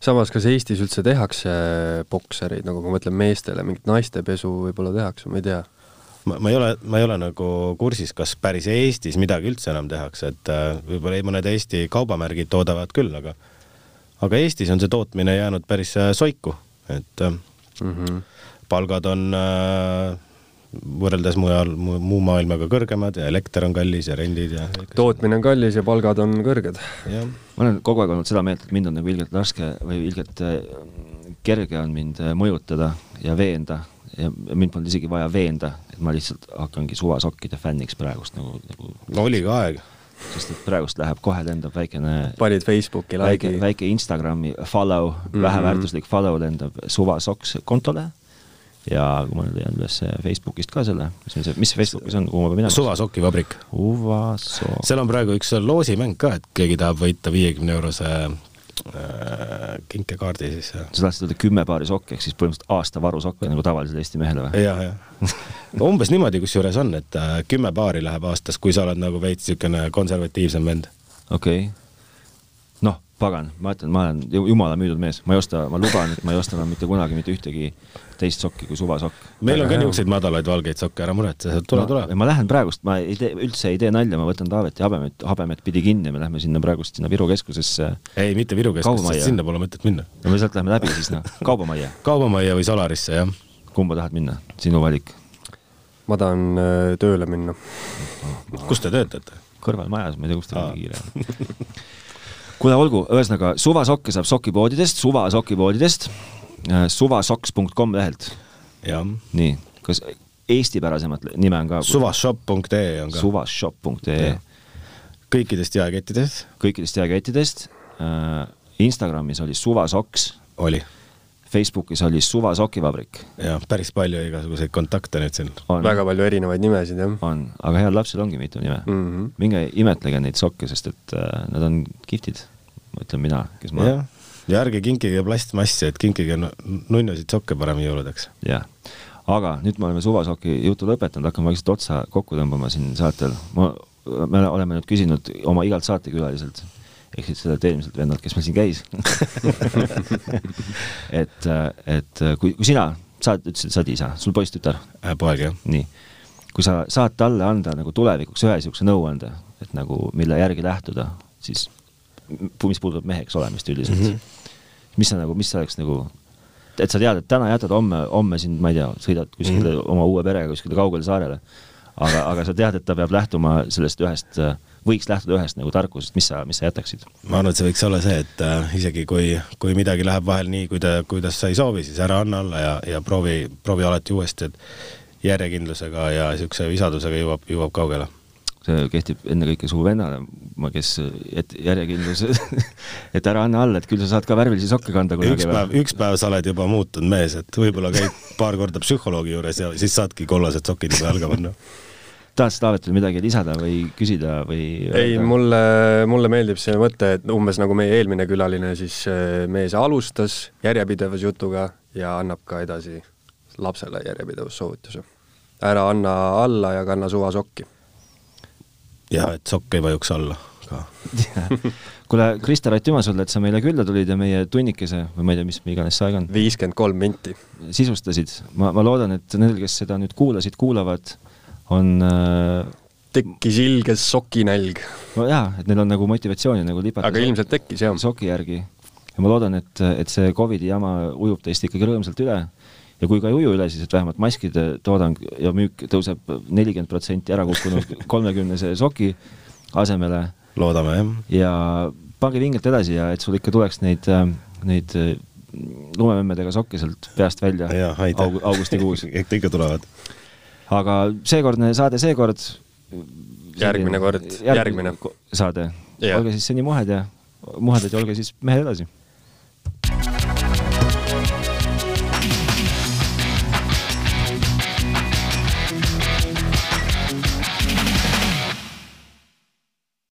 samas , kas Eestis üldse tehakse boksereid , nagu ma mõtlen meestele , mingit naistepesu võib-olla tehakse , ma ei tea .
ma, ma ei ole , ma ei ole nagu kursis , kas päris Eestis midagi üldse enam tehakse , et äh, võib-olla ei- mõned Eesti kaubamärgid toodavad küll , aga aga Eestis on see tootmine jäänud päris äh, soiku , et äh,
Mm -hmm.
palgad on äh, võrreldes mujal mu, , muu maailmaga kõrgemad ja elekter on kallis ja rendid ja
tootmine on kallis ja palgad on kõrged .
jah ,
ma olen kogu aeg olnud seda meelt , et mind on nagu ilgelt raske või ilgelt äh, kerge on mind äh, mõjutada ja veenda ja mind polnud isegi vaja veenda , et ma lihtsalt hakkangi suvasokkide fänniks praegust nagu, nagu ,
no oligi aeg .
sest et praegust läheb kohe lendab väikene
panid Facebooki
väike ,
like'i ,
väike Instagrami follow mm , -hmm. väheväärtuslik follow lendab suvasoks kontole ja kui ma nüüd leian üles Facebookist ka selle , mis meil see , mis Facebookis on , kuhu ma pean minema ?
suva sokivabrik .
suvasoks .
seal on praegu üks loosimäng ka , et keegi tahab võita viiekümne eurose äh, kinkekaardi siis .
sa tahtsid öelda kümme paari sokke , ehk siis põhimõtteliselt aasta varu sokke nagu tavalisele Eesti mehele või ?
jah , jah . umbes niimoodi kusjuures on , et äh, kümme paari läheb aastas , kui sa oled nagu veits niisugune konservatiivsem vend .
okei okay. . noh , pagan , ma ütlen , ma olen ju- jumala müüdud mees , ma ei osta , ma luban , et ma ei osta enam mitte kunagi mitte ühtegi teist sokki kui suvasokk .
meil on
Väga
ka
hea.
niisuguseid madalaid valgeid sokke , ära muretse , tule , tule .
ma lähen praegust , ma ei tee , üldse ei tee nalja , ma võtan Taaveti habemed , habemed pidi kinni , me lähme sinna praegust sinna Viru keskusesse
ei , mitte Viru
Kaubamajja.
keskusesse , sinna pole mõtet minna .
no me sealt läheme läbi siis noh , kaubamajja ,
kaubamajja või Solarisse , jah .
kumba tahad minna , sinu valik .
ma tahan öö, tööle minna .
kus te töötate ?
kõrval majas , ma ei tea , kust teil
Aa.
nii kiire on . kuule , olgu , ühesõnaga suvasokke saab sokipoodidest , äh, suvasokipoodidest , suvasoks.com lehelt ,
jah .
nii , kas eestipärasemat le- nime on ka ?
suvashop.ee e on ka .
suvashop.ee ,
kõikidest jaekettides
kõikidest jaekettidest , Instagramis oli suvasoks ,
oli .
Facebookis oli suvasokivabrik .
jah , päris palju igasuguseid kontakte nüüd siin .
on ,
väga palju erinevaid nimesid , jah .
on , aga heal lapsel ongi mitu nime
Mhm.
minge imetlege neid sokke , sest et äh, nad on kihvtid , ütlen mina , kes ma
jah , ja ärge kinkige plastmassi , et kinkige nu- nunnusid sokke parem jõuludeks .
jah . aga nüüd me oleme suvasoki jutu lõpetanud , hakkame vaikselt otsa kokku tõmbama siin saatel . ma , me oleme nüüd küsinud oma igalt saatekülaliselt ehk siis sellelt eelmiselt vennalt , kes meil siin käis . et , et äh, kui , kui sina saad , ütlesid , sa oled isa , sul poiss-tütar ,
Äh, poeg , jah .
nii . kui sa saad talle anda nagu tulevikuks ühe niisuguse nõuande , et nagu mille järgi lähtuda , siis m- mis puudutab meheks olemist üldiselt mm ,
Mhm.
-hmm. mis sa nagu , mis sa oleks nagu , et sa tead , et täna jätad homme , homme siin , ma ei tea , sõidad kuskile
Mhm.
mm -hmm. oma uue perega kuskile kaugele saarele , aga , aga sa tead , et ta peab lähtuma sellest ühest , võiks lähtuda ühest nagu tarkusest , mis sa , mis sa jätaksid ?
ma arvan , et see võiks olla see , et äh, isegi kui , kui midagi läheb vahel nii , kuida- , kuidas sa ei soovi , siis ära anna alla ja , ja proovi , proovi alati uuesti , et järjekindlusega ja niisuguse visadusega jõuab , jõuab kaugele .
see kehtib ennekõike su vennale , ma , kes , et järjekindlus , et ära anna alla , et küll sa saad ka värvilisi sokke kanda
üks
kunagi .
päev , üks päev sa oled juba muutunud mees , et võib-olla käid paar korda psühholoogi juures ja siis saadki kollased sokid juba jalga panna .
tahad sa Taavetile midagi lisada või küsida või ?
ei ,. mulle , mulle meeldib see mõte , et umbes nagu meie eelmine külaline , siis öö, mees alustas järjepidevas jutuga ja annab ka edasi lapsele järjepidevussoovituse . ära anna alla ja kanna suvasokki .
ja et sokk ei vajuks alla ka .
kuule , Krista Ratt-Tüma sulle , et sa meile külla tulid ja meie tunnikese või ma ei tea , mis meil iganes see aeg on ,
viiskümmend kolm minti .
sisustasid . ma , ma loodan , et nendel , kes seda nüüd kuulasid , kuulavad , on äh,
tekkis ilges sokinälg ,
no jaa , et neil on nagu motivatsiooni nagu lipata
aga ilmselt tekkis jah .
soki järgi . ja ma loodan , et , et see Covidi jama ujub teist ikkagi rõõmsalt üle ja kui ka ei uju üle , siis et vähemalt maskide toodang ja müük tõuseb nelikümmend protsenti ära kukkunud kolmekümnese soki asemele
loodame , jah .
ja pange vingelt edasi ja et sul ikka tuleks neid , neid äh, lumememmedega sokke sealt peast välja
jaa , aitäh
aug- . augustikuus .
ikka , ikka tulevad .
aga seekordne saade seekord .
Järgmine kord, järgmine.
saade ,
Jah.
olge siis seni muhed ja , muhedad ja olge siis mehed edasi